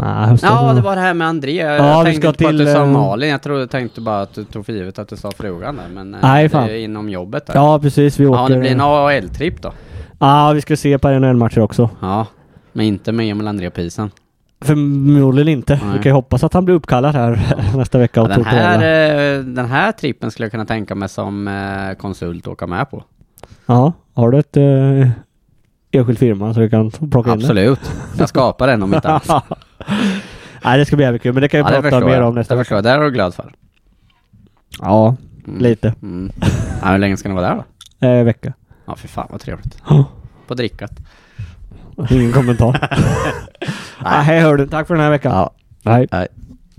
C: Ah, hösten,
B: Ja, det var det här med André. Jag
C: Ja, vi
B: tänkte
C: ska
B: inte på att
C: till,
B: du sa
C: eh,
B: Malin. Jag trodde, tänkte bara att du tog för givet att du sa frugan där. Men eh,
C: Nej,
B: det
C: fan.
B: är ju inom jobbet där.
C: ja precis. Vi åker.
B: ja det blir en AHL-tripp då.
C: Ja, vi ska se på NHL-matcher också.
B: Ja, men inte med Emil André på isen.
C: Förmodligen inte.
B: Nej.
C: Vi kan ju hoppas att han blir uppkallad här (laughs) nästa vecka.
B: Ja,
C: Och
B: den,
C: totala.
B: här, eh, den här trippen skulle jag kunna tänka mig som eh, konsult åka med på.
C: Ja, har du ett eh, enskild firma så vi kan plocka in det?
B: Absolut. Jag skapar en om
C: (laughs)
B: inte annat.
C: Nej, det ska bli jävligt kul. Men det kan vi
B: Ja, det
C: prata
B: förstår
C: mer
B: jag.
C: om
B: Det
C: nästa
B: förstår jag. Det är du glad för.
C: Ja,
B: Mm.
C: lite.
B: Mm. Ja, hur länge ska ni vara där då?
C: Eh, vecka.
B: Ja, för fan vad trevligt.
C: Ja.
B: På drickat.
C: (laughs) Ah, Ingen kommentar. Nej, hör du. Tack för den här veckan. Nej.
B: Nej.